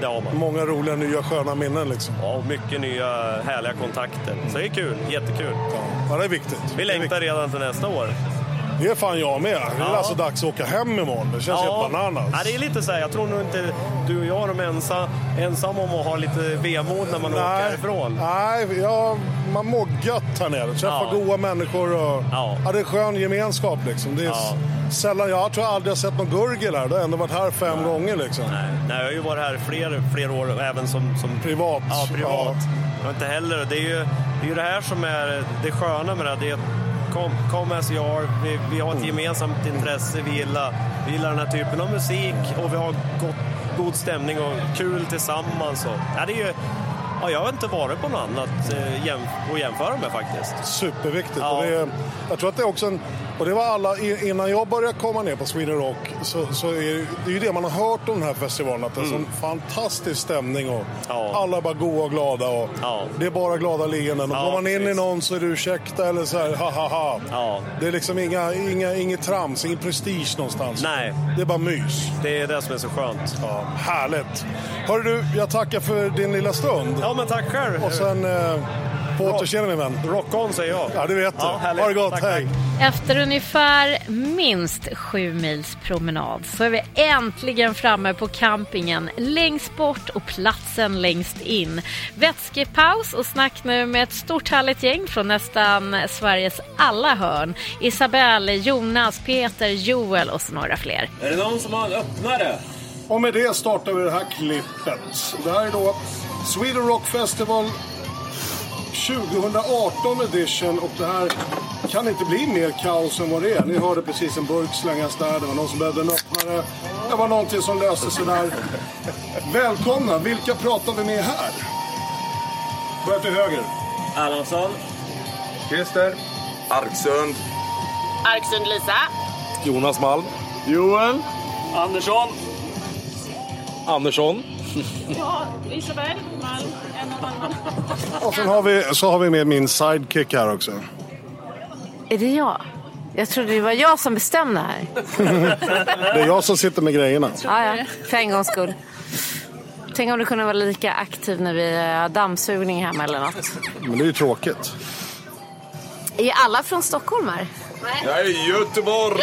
Det har man. Många roliga nya sköna minnen liksom. Ja, och mycket nya härliga kontakter. Så det är kul, jättekul. Ja, det är viktigt. Vi längtar redan till nästa år. Det är fan jag med. Det är Ja. alltså dags att åka hem imorgon. Det känns helt bananas. Ja, det är lite så här, jag tror nog inte du och jag är de ensa, ensamma om att ha lite vemod när man åker härifrån. Nej, ja, man mår gött här nere. Träffar Ja. goa människor och... Ja. det är skön gemenskap liksom. Det är Ja. s- sällan... Jag tror jag aldrig har sett någon gurgel här. Du har ändå varit här fem gånger liksom. Nej, jag har ju varit här fler, fler år, även som, som privat. Ja, privat. Jag har inte heller. Det är ju det, är ju det här som är det sköna med det här. Det är att kom, kom as you are. Vi, vi har ett gemensamt intresse. Vi gillar, vi gillar den här typen av musik och vi har gott, god stämning och kul tillsammans. Och, ja, det är ju, ja, jag har inte varit på något annat eh, jäm- att jämföra med faktiskt. Superviktigt. Ja. Och det är, jag tror att det är också en, och det var alla, i- innan jag började komma ner på Sweden Rock så, så är det- det är ju det man har hört om den här festivalen. Att det är en Mm. sån fantastisk stämning och alla är bara goa och glada. Och Det är bara glada leenden. Och Ja, går man in i någon så är det ursäkta eller så här ha ha ha. Det är liksom inga, inga, inget trams, ingen prestige någonstans. Nej. Det är bara mys. Det är det som är så skönt. Ja, härligt. Hörru du, jag tackar för din lilla stund. Ja, men tack själv. Och sen eh, på återseende min vän. Rock on säger jag. Ja, det vet du. Ja, härligt. ha det gott, Tack, hej. Efter ungefär minst sju mils promenad så är vi äntligen framme på campingen längst bort och platsen längst in. Vätskepaus och snack nu med ett stort härligt gäng från nästan Sveriges alla hörn. Isabelle, Jonas, Peter, Joel och så några fler. Är det någon som har en öppnare? Och med det startar vi det här klippet. Det här är då Sweden Rock Festival 2018 edition och det här kan inte bli mer kaos än vad det är. Ni hörde precis en burk slängas där, det var någon som behövde en öppnare. Det var någonting som löste sig där. Välkomna! Vilka pratar vi med här? Börja till höger. Erlandsson. Christer. Arksund. Arksund Lisa. Jonas Malm. Joel. Andersson. Andersson. Ja, Isabel Malm, en av Och sen har vi, så har vi med min sidekick här också. Är det jag? Jag trodde det var jag som bestämde här. Det är jag som sitter med grejerna. Ja, ja. För en gångs skull. Tänk om du kunde vara lika aktiv när vi har dammsugning hemma eller något. Men det är ju tråkigt. Är alla från Stockholm här? Jag är Göteborg!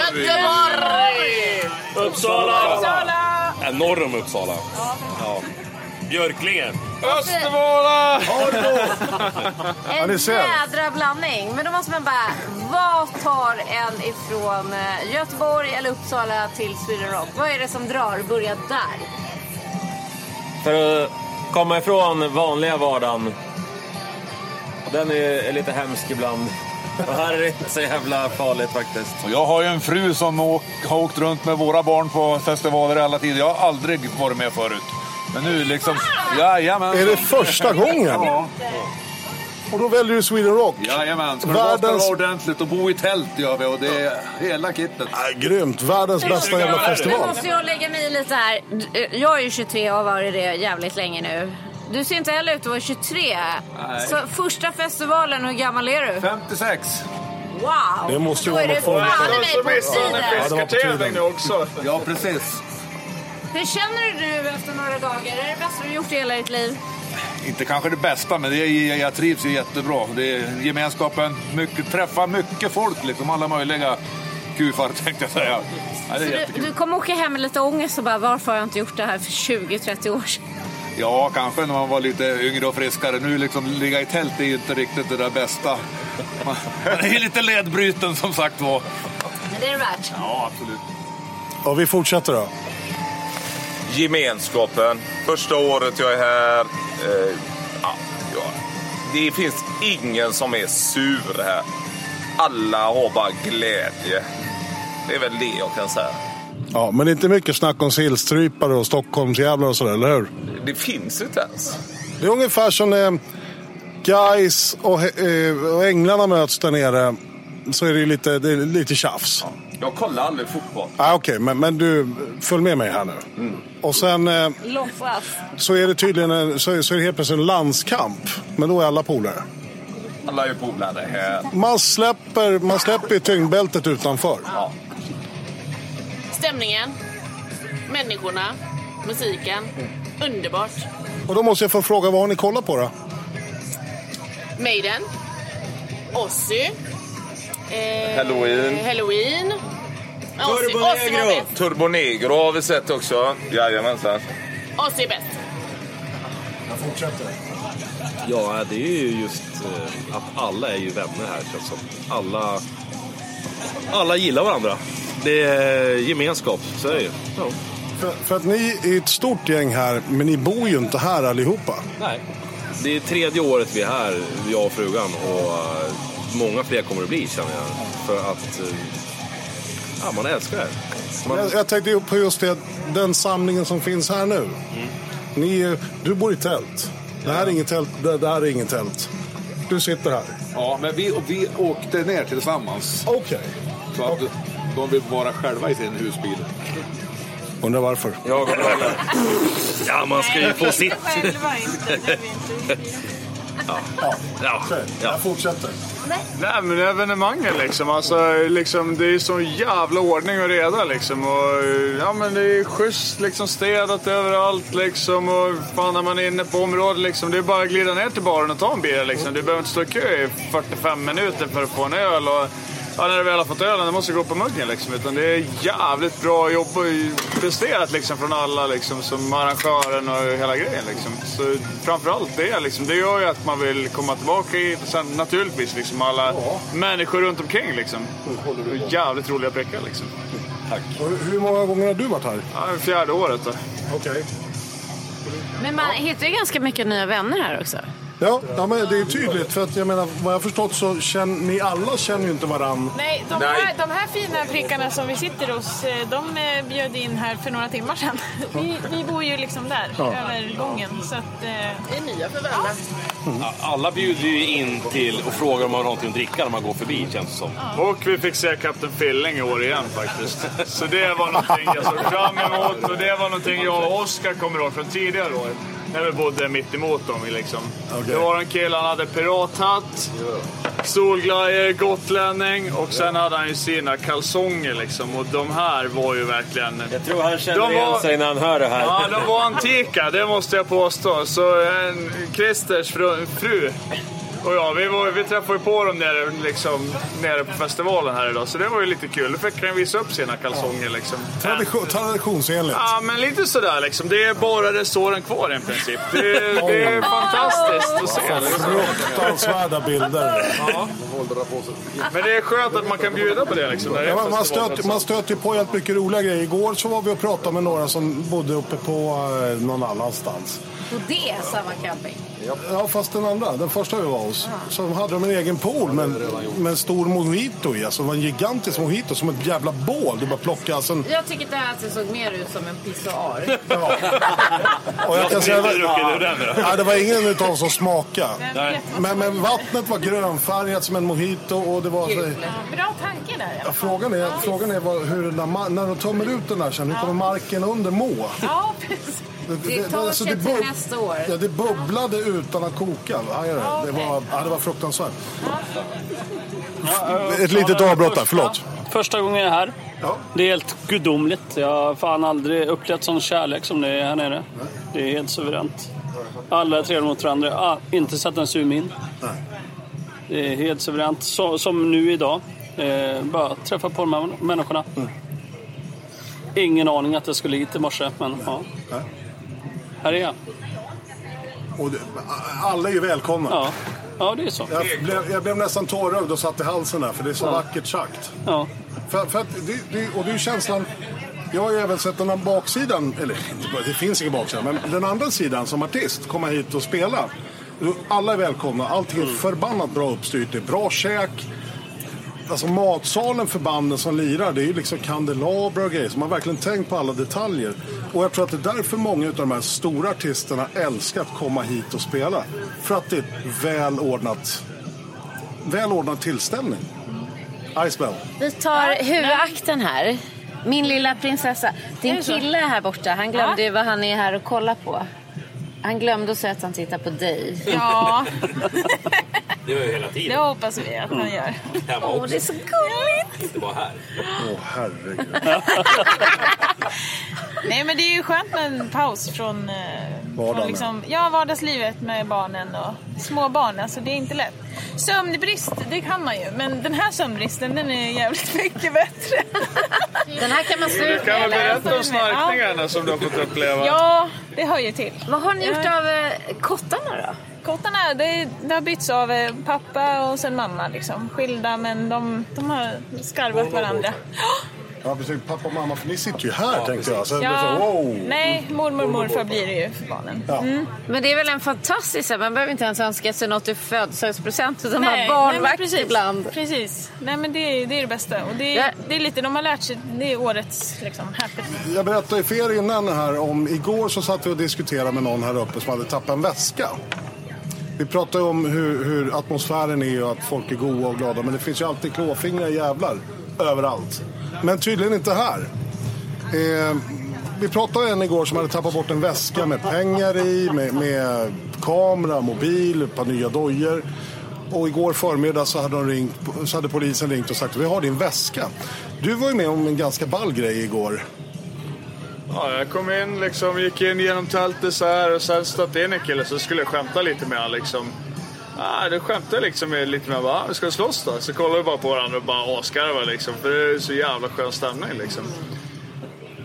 Uppsala. Uppsala! Ja, norr om Uppsala. Ja. Björklingen. Östervåla! Ja, En ni ser. jädra blandning. Men då måste man bara, vad tar en ifrån eh, Göteborg eller Uppsala till Sweden Rock? Vad är det som drar? Börja där. För att komma ifrån vanliga vardagen. Den är, är lite hemsk ibland. Och här är det inte så jävla farligt faktiskt. Och Jag har ju en fru som åk, har åkt runt med våra barn på festivaler i alla tider. Jag har aldrig varit med förut. Men nu liksom... Jajamän. Är det första gången? Ja. Och då väljer du Sweden Rock? Jajamän. Ska det vara ska det Världens- vara ordentligt och bo i tält gör vi och det är hela kittet. Grymt. Världens bästa jävla Nu festival. måste jag lägga mig i lite här. D- Jag är ju 23 och har varit det jävligt länge nu. Du ser inte heller ut att vara 23. Nej. Så första festivalen, hur gammal är du? 56. Wow! Då är det fan i mig på tiden. nu också. Ja, precis. Hur känner du nu efter några dagar? Är det det bästa du gjort i hela ditt liv? Inte kanske det bästa, men det är, jag trivs ju jättebra. Det är gemenskapen, mycket, träffa mycket folk, liksom alla möjliga kufar tänkte jag säga. Ja, det Så är du, jättekul. du kommer åka hem med lite ångest och bara varför har jag inte gjort det här för 20-30 år sedan? Ja, kanske när man var lite yngre och friskare. Nu liksom ligga i tält är ju inte riktigt det där bästa. Man man är ju lite ledbruten som sagt var. Men det är det värt. Ja, absolut. Och vi fortsätter då. Gemenskapen. Första året jag är här. Eh, ja, ja. Det finns ingen som är sur här. Alla har bara glädje. Det är väl det jag kan säga. Ja, men det är inte mycket snack om sillstrypare och Stockholmsjävlar och sådär, eller hur? Det finns ju inte ens. Det är ungefär som eh, Guys och, he- eh, och Änglarna möts där nere så är det ju lite, det är lite tjafs. Jag kollar aldrig fotboll. Ah, Okej, men, men du, följ med mig här nu. Och sen eh, Låtsas. så är det tydligen en, så, är- så är det helt plötsligt en landskamp. Men då är alla polare. Alla är ju polare här. Man släpper, man släpper ju tyngdbältet utanför. Stämningen, människorna, musiken. Mm. Underbart. Och då måste jag få fråga, vad har ni kollat på då? Maiden, Ozzy, eh, Halloween. Halloween. Ozzy, Turbo Ozzy, var Negro. bäst. Turbo Negro har vi sett också. Jajamensan. Ozzy är bäst. Jag fortsätter. Ja, det är ju just eh, att alla är ju vänner här känns som. Alla, alla gillar varandra. Det är gemenskap, så är det ju. Ja. För, för att ni är ett stort gäng här, men ni bor ju inte här allihopa. Nej. Det är tredje året vi är här, jag och frugan. Och eh, många fler kommer det bli känner jag. För att eh, ja, man älskar det här. Man, Jag, jag tänkte ju på just det, den samlingen som finns här nu. Ni, är- du bor i tält. Det här är inget tält, det, det här är inget tält. Du sitter här. Ja, men vi, och vi åkte ner tillsammans. Okej. Så att de vill vara själva i sin husbil. Undrar varför. Jag och Ja, man ska ju få sitt. Själva inte, när vi inte ja. Ja. Jag fortsätter. Nej, men evenemangen liksom. Alltså, liksom. Det är så jävla ordning och reda liksom. Och, ja, men det är schysst liksom, städat överallt liksom. Och fan, när man är inne på området liksom. Det är bara att glida ner till baren och ta en bira liksom. Du behöver inte stå i kö i 45 minuter för att få en öl. Och, ja, när du väl har fått ölen, då måste du gå på muggen liksom. Utan det är jävligt bra jobb och presterat liksom från alla liksom. Som arrangören och hela grejen liksom. Så framförallt det liksom. Det gör ju att man vill komma tillbaka hit. Och Sen naturligtvis liksom alla människor runt omkring liksom. Och Jävligt roliga prickar liksom. Tack. Och hur- hur många gånger har du varit här? Ja, fjärde året då. Okej. Men man hittar ju ganska mycket nya vänner här också. Ja, ja, men det är tydligt. För att jag menar, vad jag har förstått så känner ni alla känner ju inte varann. Nej, de här, de här fina prickarna som vi sitter hos, eh, de eh, bjöd in här för några timmar sedan. Vi, vi bor ju liksom där, Ja. över gången. Så att, eh, det är nya för vänner. Alla bjuder ju in till och frågar om man har någonting att dricka när man går förbi känns det som. Och vi fick se Kapten Filling i år igen faktiskt. Så det var någonting jag såg fram emot och det var någonting jag och Oskar kommer ihåg från tidigare år. När vi bodde mitt emot dem liksom. Det var en kille, han hade pirathatt, solglajjor, gotlänning och sen hade han ju sina kalsonger liksom. Och de här var ju verkligen... Jag tror han känner de igen var... sig när han hör det här. Ja, de var antika, det måste jag påstå. Så en, Christers fru, fru och jag, vi, var, vi träffade ju på dem nere, liksom, nere på festivalen här idag. Så det var ju lite kul. Då fick han visa upp sina kalsonger liksom. Tradition, traditionsenligt. Ja, men lite sådär liksom. Det är bara resåren kvar i princip. Det, det är fantastiskt att se. Liksom. Fruktansvärda bilder. Men det är skönt att man kan bjuda på det liksom. när det är Ja, man, man, festival, stöter, liksom. man stöter ju på helt mycket roliga grejer. Igår så var vi och pratade med några som bodde uppe på eh, någon annanstans. Och det är samma camping. Ja, fast den andra, den första vi var hos, så hade de en egen pool med, med en stor mojito i. Alltså det var en gigantisk mojito, som ett jävla bål. Du bara plockade alltså en... Jag tycker inte att det såg mer ut som en pissoar. Och jag kan säga, Vad dricker du det, den var, med då? ja, det var ingen utav oss som smakade. Nej. Men, men vattnet var grönfärgat som en mojito och det var... Så, Bra tanke där. ja, frågan är, frågan är vad, hur den där, ma- när de tömmer ut den där sen, hur kommer marken under må? Ja, precis. Det tar alltså, sig till bub- nästa år. Ja, det bubblade utan att koka. Ja, ja, det, var, ja, det var fruktansvärt. Ett litet avbrott där, förlåt. Första gången jag är här. Det är helt gudomligt. Jag har fan aldrig upplevt sån kärlek som det är här nere. Det är helt suveränt. Alla är trevliga mot varandra. Ah, inte satt en summin. Det är helt suveränt. Så, som nu idag. Eh, bara träffa på de här människorna. Mm. Ingen aning att jag skulle hit i morse, men ja. Här är jag. Och det, alla är ju välkomna. Ja. ja, det är så. Jag blev, jag blev nästan tårögd och satt i halsen där, för det är så vackert sagt. Ja. För, för att det, det, och det är ju känslan... Jag har ju även sett den här baksidan, eller inte bara- det finns ingen baksida, men den andra sidan som artist, komma hit och spela. Alla är välkomna, allting är förbannat bra uppstyrt, det är bra käk. alltså matsalen för banden som lirar, det är ju liksom kandelabrar och grejer. Så man har verkligen tänkt på alla detaljer. Och jag tror att det är därför många av de här stora artisterna älskar att komma hit och spela. För att det är ett välordnat, välordnad tillställning. Icebell. Vi tar huvudakten här. Min lilla prinsessa. Är det Din så? kille här borta, han glömde ju vad han är här och kollar på. Han glömde att säga att han tittar på dig. Ja, Det gör jag hela det tiden. hoppas vi att han gör. Hemma också. gulligt! Det var här. Åh, herregud. Nej men det är ju skönt med en paus från, eh, Vardagen. från liksom, ja, vardagslivet med barnen och små barn. Alltså det är inte lätt. Sömnbrist, det kan man ju. Men den här sömnbristen den är jävligt mycket bättre. Den här kan man stå Du ut kan väl berätta om Ja, snarkningarna som du har fått uppleva? ja, det hör ju till. Vad har ni gjort av eh, kottarna då? Kottarna, det, det har bytts av eh, pappa och sen mamma liksom. Skilda men de, de har skarvat varandra. Ja, precis. Pappa och mamma, för ni sitter ju här tänkte jag. Så jag blev Ja, så, wow. Nej, mormor och morfar blir det ju för barnen. Mm. Men det är väl en fantastisk, man behöver inte ens önska sig något i födelsedagspresent utan bara Nej, nej, men barnvakt precis. ibland. Precis. Nej, men det är, det är det bästa. Och det, Ja. är, det är lite, de har lärt sig, det är årets liksom, happy. Jag berättade ju för er innan här om igår så satt vi och diskuterade med någon här uppe som hade tappat en väska. Vi pratade om hur, hur atmosfären är och att folk är goa och glada men det finns ju alltid klåfingriga jävlar överallt. Men tydligen inte här. Eh, vi pratade om en igår som hade tappat bort en väska med pengar i, med, med kamera, mobil, ett par nya dojor. Och igår förmiddag så hade, de ringt, så hade polisen ringt och sagt vi har din väska. Du var ju med om en ganska ball grej igår. Ja, jag kom in, liksom, gick in genom tältet så här och sen stötte in en kille så skulle jag skämta lite med honom. Liksom. Ah, du skämtade liksom med- lite med honom. Ah, ska vi slåss då? Så kollade vi bara på varandra och bara asgarvade liksom. För det är så jävla skön stämning liksom.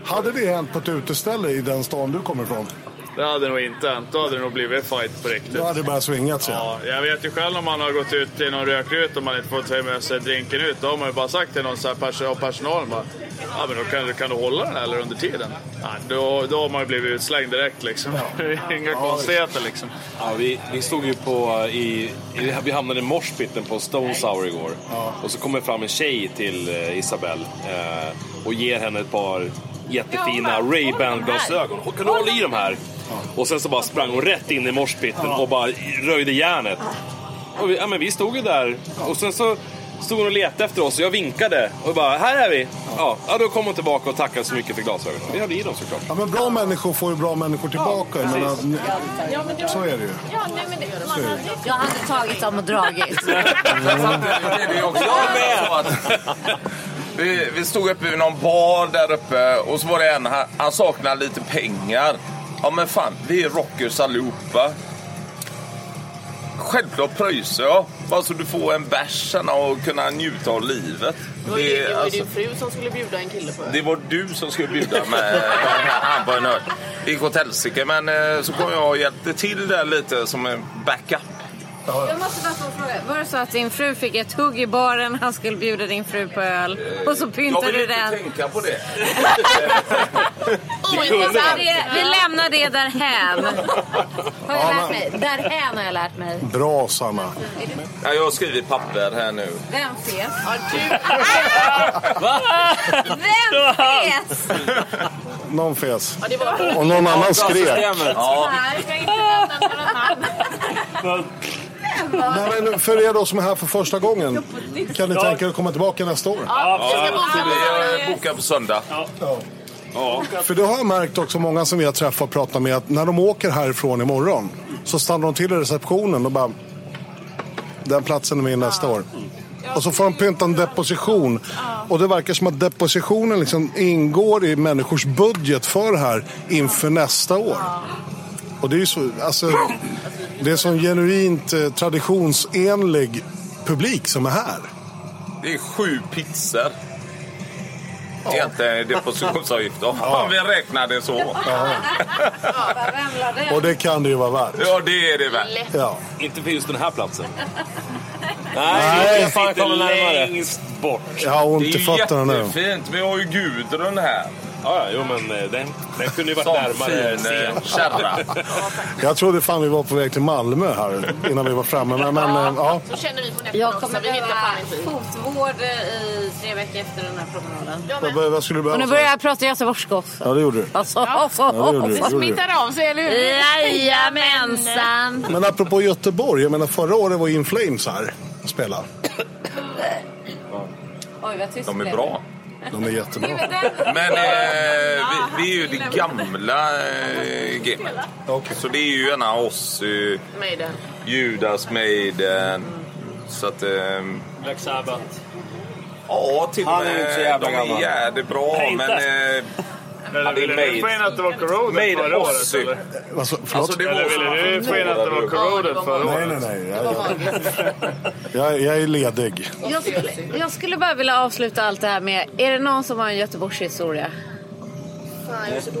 Hade det hänt på ett uteställe i den stan du kommer ifrån? Det hade nog inte hänt. Då hade det nog blivit fight på riktigt. Då hade det börjat svingat sig. Ja, jag vet ju själv om man har gått ut i någon rökruta och man inte fått ta med sig drinken ut. Då har man ju bara sagt till någon så här pers- av personalen bara, ja men då kan, kan du hålla den här eller under tiden? Ja, då, då har man ju blivit utslängd direkt liksom. Inga konstigheter liksom. Ja, vi, vi stod ju på eh, i, i vi hamnade i morspitten på Stone Sour igår. Och så kommer fram en tjej till eh, Isabel eh, och ger henne ett par jättefina Ja, hon bara, Ray-Ban glasögon. Kan du hålla i de här? Och sen så bara sprang hon rätt in i morspitten och bara röjde järnet. Och vi, ja, men vi stod ju där och sen så stod hon och letade efter oss och jag vinkade och bara här är vi. Ja, ja då kom hon tillbaka och tackade så mycket för glasögonen. Vi hade i dem såklart. Ja, men bra människor får ju bra människor tillbaka. precis. men, att- Ja, men så är det ju. Ja, nej, men det, man hade ju... Jag hade tagit dem och dragit. Vi, vi stod uppe vid någon bar där uppe och så var det en, han, han saknade lite pengar. Ja men fan, vi är rockers allihopa. Självklart pröjsar jag. Bara så du får en bärs sen och kunna njuta av livet. Det var ju det var ju alltså- din fru som skulle bjuda en kille på det var du som skulle bjuda med han på en öl. Det gick åt helsike men eh, så kom jag och hjälpte till där lite som en backup. Jag måste bara få en fråga. Var det så att din fru fick ett hugg i baren, han skulle bjuda din fru på öl och så pyntade du den? tänka på det. Vi, lämnar det- vi lämnar det därhän. Har jag Ja, lärt men- mig? Därhän har jag lärt mig. Bra Sanna. Ja, jag har skrivit papper här nu. Vem fes? Va? Vem fes? Någon fes. Ja, det var- Och någon annan Ja, skrek. systemet. Ja. Nej, jag inte nämna några namn. Nej, men för er då som är här för första gången, kan ni Ja. tänka er att komma tillbaka nästa år? jag bokar på söndag. Ja. För det har jag märkt också många som vi har träffat och pratat med att när de åker härifrån imorgon så stannar de till i receptionen och bara den platsen är min nästa år. Och så får de pynta en deposition. Och det verkar som att depositionen liksom ingår i människors budget för det här inför nästa år. Och det är ju så, alltså, det är sån genuint eh, traditionsenlig publik som är här. Det är sju pizzor. Egentligen är depositionsavgift. Om vi räknar det så. Och det kan det ju vara värt. Ja, det är det väl. Ja. Inte för just den här platsen. Nej, fan, jag kommer närmare. längst bort. Jag har ont i fötterna nu. Det är ju jättefint. Vi har ju Gudrun här. Ja, ja, jo men eh, den, den kunde ju varit närmare scen. Jag trodde fan vi var på väg till Malmö här innan vi var framme. Men, men eh, ja. Så känner vi på nätterna Jag också. kommer vi hittar behöva eh, fan inte. fotvård i tre veckor efter den här promenaden. Vad, vad vad skulle du Och nu behöva? börjar jag prata göteborgska också. Ja, det gjorde du. Alltså, det gjorde du, det gjorde du. av sig, eller hur? Jajamensan. Men apropå Göteborg, jag menar förra året var In Flames här och spelade. Eh, Oj, vad tyst De det är bra. De är jättebra. Men eh, vi, vi är ju det gamla eh, gamet. Så det är ju en av oss. Eh, Maiden. Judas, Maiden. Så att... ehm, Black Sabbath. Ja, till och Han är ju inte så med. jävla De är gammal. jävligt bra, Nej, inte. men... Eh, Eller det ville du få in att det var corroded Maiden förra året, Ozzy. eller? Alltså, förlåt? Alltså, det var Eller ville du få in att det var corroded förra Nej, året? nej, nej. Jag, jag, jag är ledig. Jag skulle, jag skulle bara vilja avsluta allt det här med, är det någon som har en Göteborgshistoria?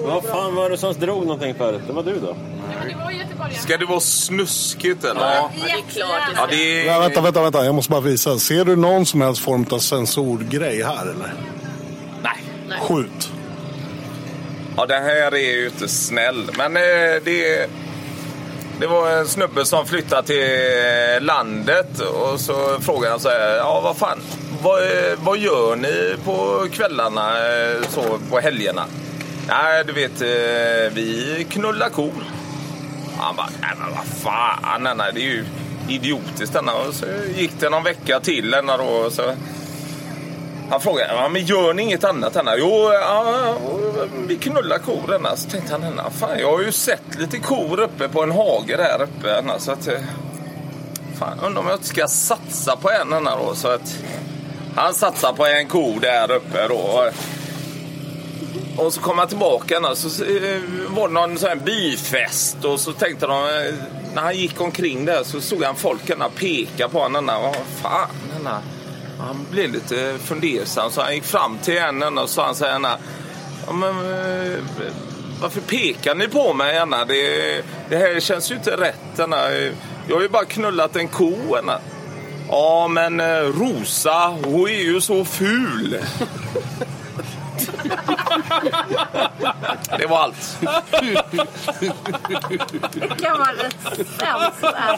Vad fan var det som drog någonting förut? Det var du då? Ska det vara snuskigt eller? Ja. det är klart. Ja, det Ja, vänta, vänta, vänta. Jag måste bara visa. Ser du någon som helst form av censorgrej här eller? Nej. Skjut. Ja, det här är ju inte snäll. Men eh, det, det var en snubbe som flyttade till eh, landet och så frågade han så här, ja vad fan, vad, eh, vad gör ni på kvällarna eh, så på helgerna? Nej, du vet, eh, vi knullar kor. Han bara, nej men vad fan, nej, nej, det är ju idiotiskt denna. Och så gick det någon vecka till denna då och så han frågade, ja, men gör ni inget annat än Jo, ja, vi knullar kor än Så tänkte han, "Ja, fan jag har ju sett lite kor uppe på en hage där uppe än Så att, eh, fan undrar om jag inte ska satsa på en än då. Så att han satsar på en ko där uppe då. Och så kom han tillbaka än så eh, var det någon sån här byfest och så tänkte de, eh, när han gick omkring där så såg han folk ända peka på honom. ända. Vad fan ända. Han blev lite fundersam så han gick fram till henne och sa han så här Anna, ja, men, eh, Varför pekar ni på mig Anna? Det, det här känns ju inte rätt Anna. Jag har ju bara knullat en ko Anna. Ja men eh, Rosa hon är ju så ful. Det var allt. Kan vara det sämsta.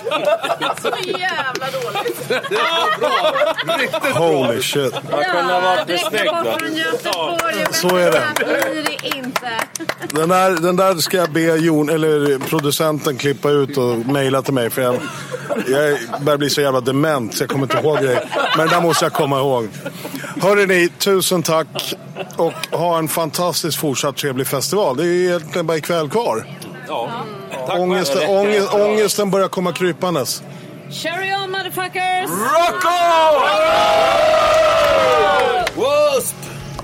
Så jävla dåligt. Det var bra. Riktigt Holy shit. Jag kunde ha varit besnygg, bort va? från Göteborg. Så är det. Blir det inte. Den där, den där ska jag be Jon, eller producenten klippa ut och mejla till mig. För jag, jag börjar bli så jävla dement så jag kommer inte ihåg grejer. Men det där måste jag komma ihåg. Hörrni, tusen tack. Och ha en fantastiskt fortsatt trevlig festival. Det är ju egentligen bara ikväll kvar. Ja. Ångesten, ångest, ångesten börjar komma krypandes. Carry on motherfuckers! Rock on! Wasp!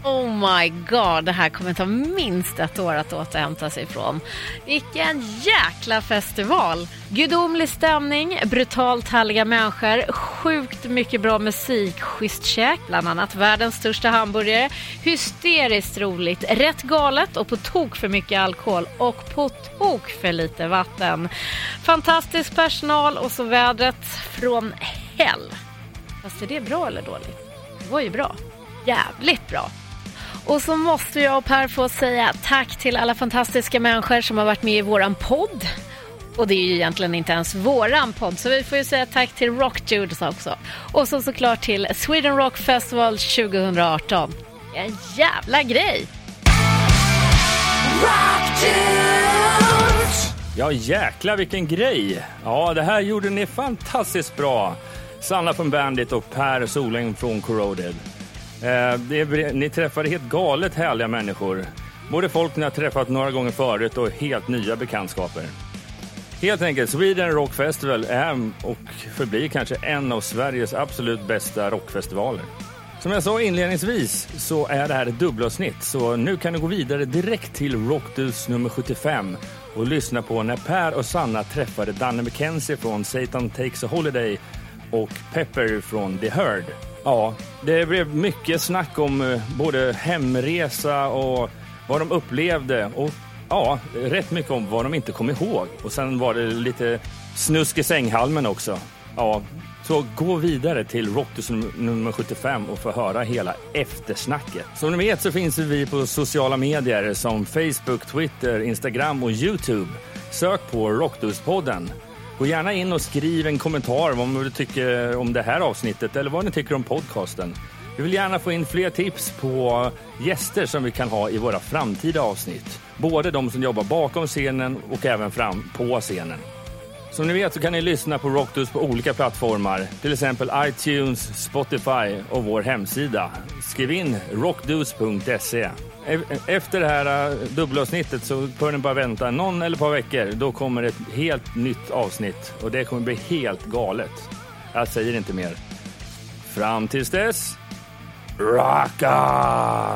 Oh my god, det här kommer ta minst ett år att återhämta sig från. Vilken jäkla festival! Gudomlig stämning, brutalt härliga människor, sjukt mycket bra musik, schysst käk, bland annat världens största hamburgare, hysteriskt roligt, rätt galet och på tok för mycket alkohol och på tok för lite vatten. Fantastisk personal och så vädret från hell. Fast är det bra eller dåligt? Det var ju bra. Jävligt bra. Och så måste jag och Per få säga tack till alla fantastiska människor som har varit med i våran podd. Och det är ju egentligen inte ens våran podd, så vi får ju säga tack till Rock Judas också. Och så såklart till Sweden Rock Festival 2018. En jävla grej! Ja, jäkla vilken grej! Ja, det här gjorde ni fantastiskt bra. Sanna från Bandit och Per Soling från Corroded. Eh, det är, ni träffade helt galet härliga människor. Både folk ni har träffat några gånger förut och helt nya bekantskaper. Helt enkelt, Sweden Rock Festival är och förblir kanske en av Sveriges absolut bästa rockfestivaler. Som jag sa inledningsvis så är det här ett dubbelavsnitt så nu kan du gå vidare direkt till Rockdus nummer 75 och lyssna på när Per och Sanna träffade Danne McKenzie från Satan Takes a Holiday och Pepper från The Herd. Ja, det blev mycket snack om eh, både hemresa och vad de upplevde och ja, rätt mycket om vad de inte kom ihåg. Och sen var det lite snusk i sänghalmen också. Ja, så gå vidare till Rocktus num- nummer 75 och få höra hela eftersnacket. Som ni vet så finns vi på sociala medier som Facebook, Twitter, Instagram och Youtube. Sök på Rocktuspodden. Gå gärna in och skriv en kommentar om vad du tycker om det här avsnittet eller vad ni tycker om podcasten. Vi vill gärna få in fler tips på gäster som vi kan ha i våra framtida avsnitt. Både de som jobbar bakom scenen och även fram på scenen. Som ni vet så kan ni lyssna på Rocktus på olika plattformar, till exempel iTunes, Spotify och vår hemsida. Skriv in rockdus.se. E- Efter det här eh, dubbelavsnittet så får ni bara vänta någon eller ett par veckor. Då kommer ett helt nytt avsnitt och det kommer bli helt galet. Jag säger inte mer. Fram tills dess, rocka!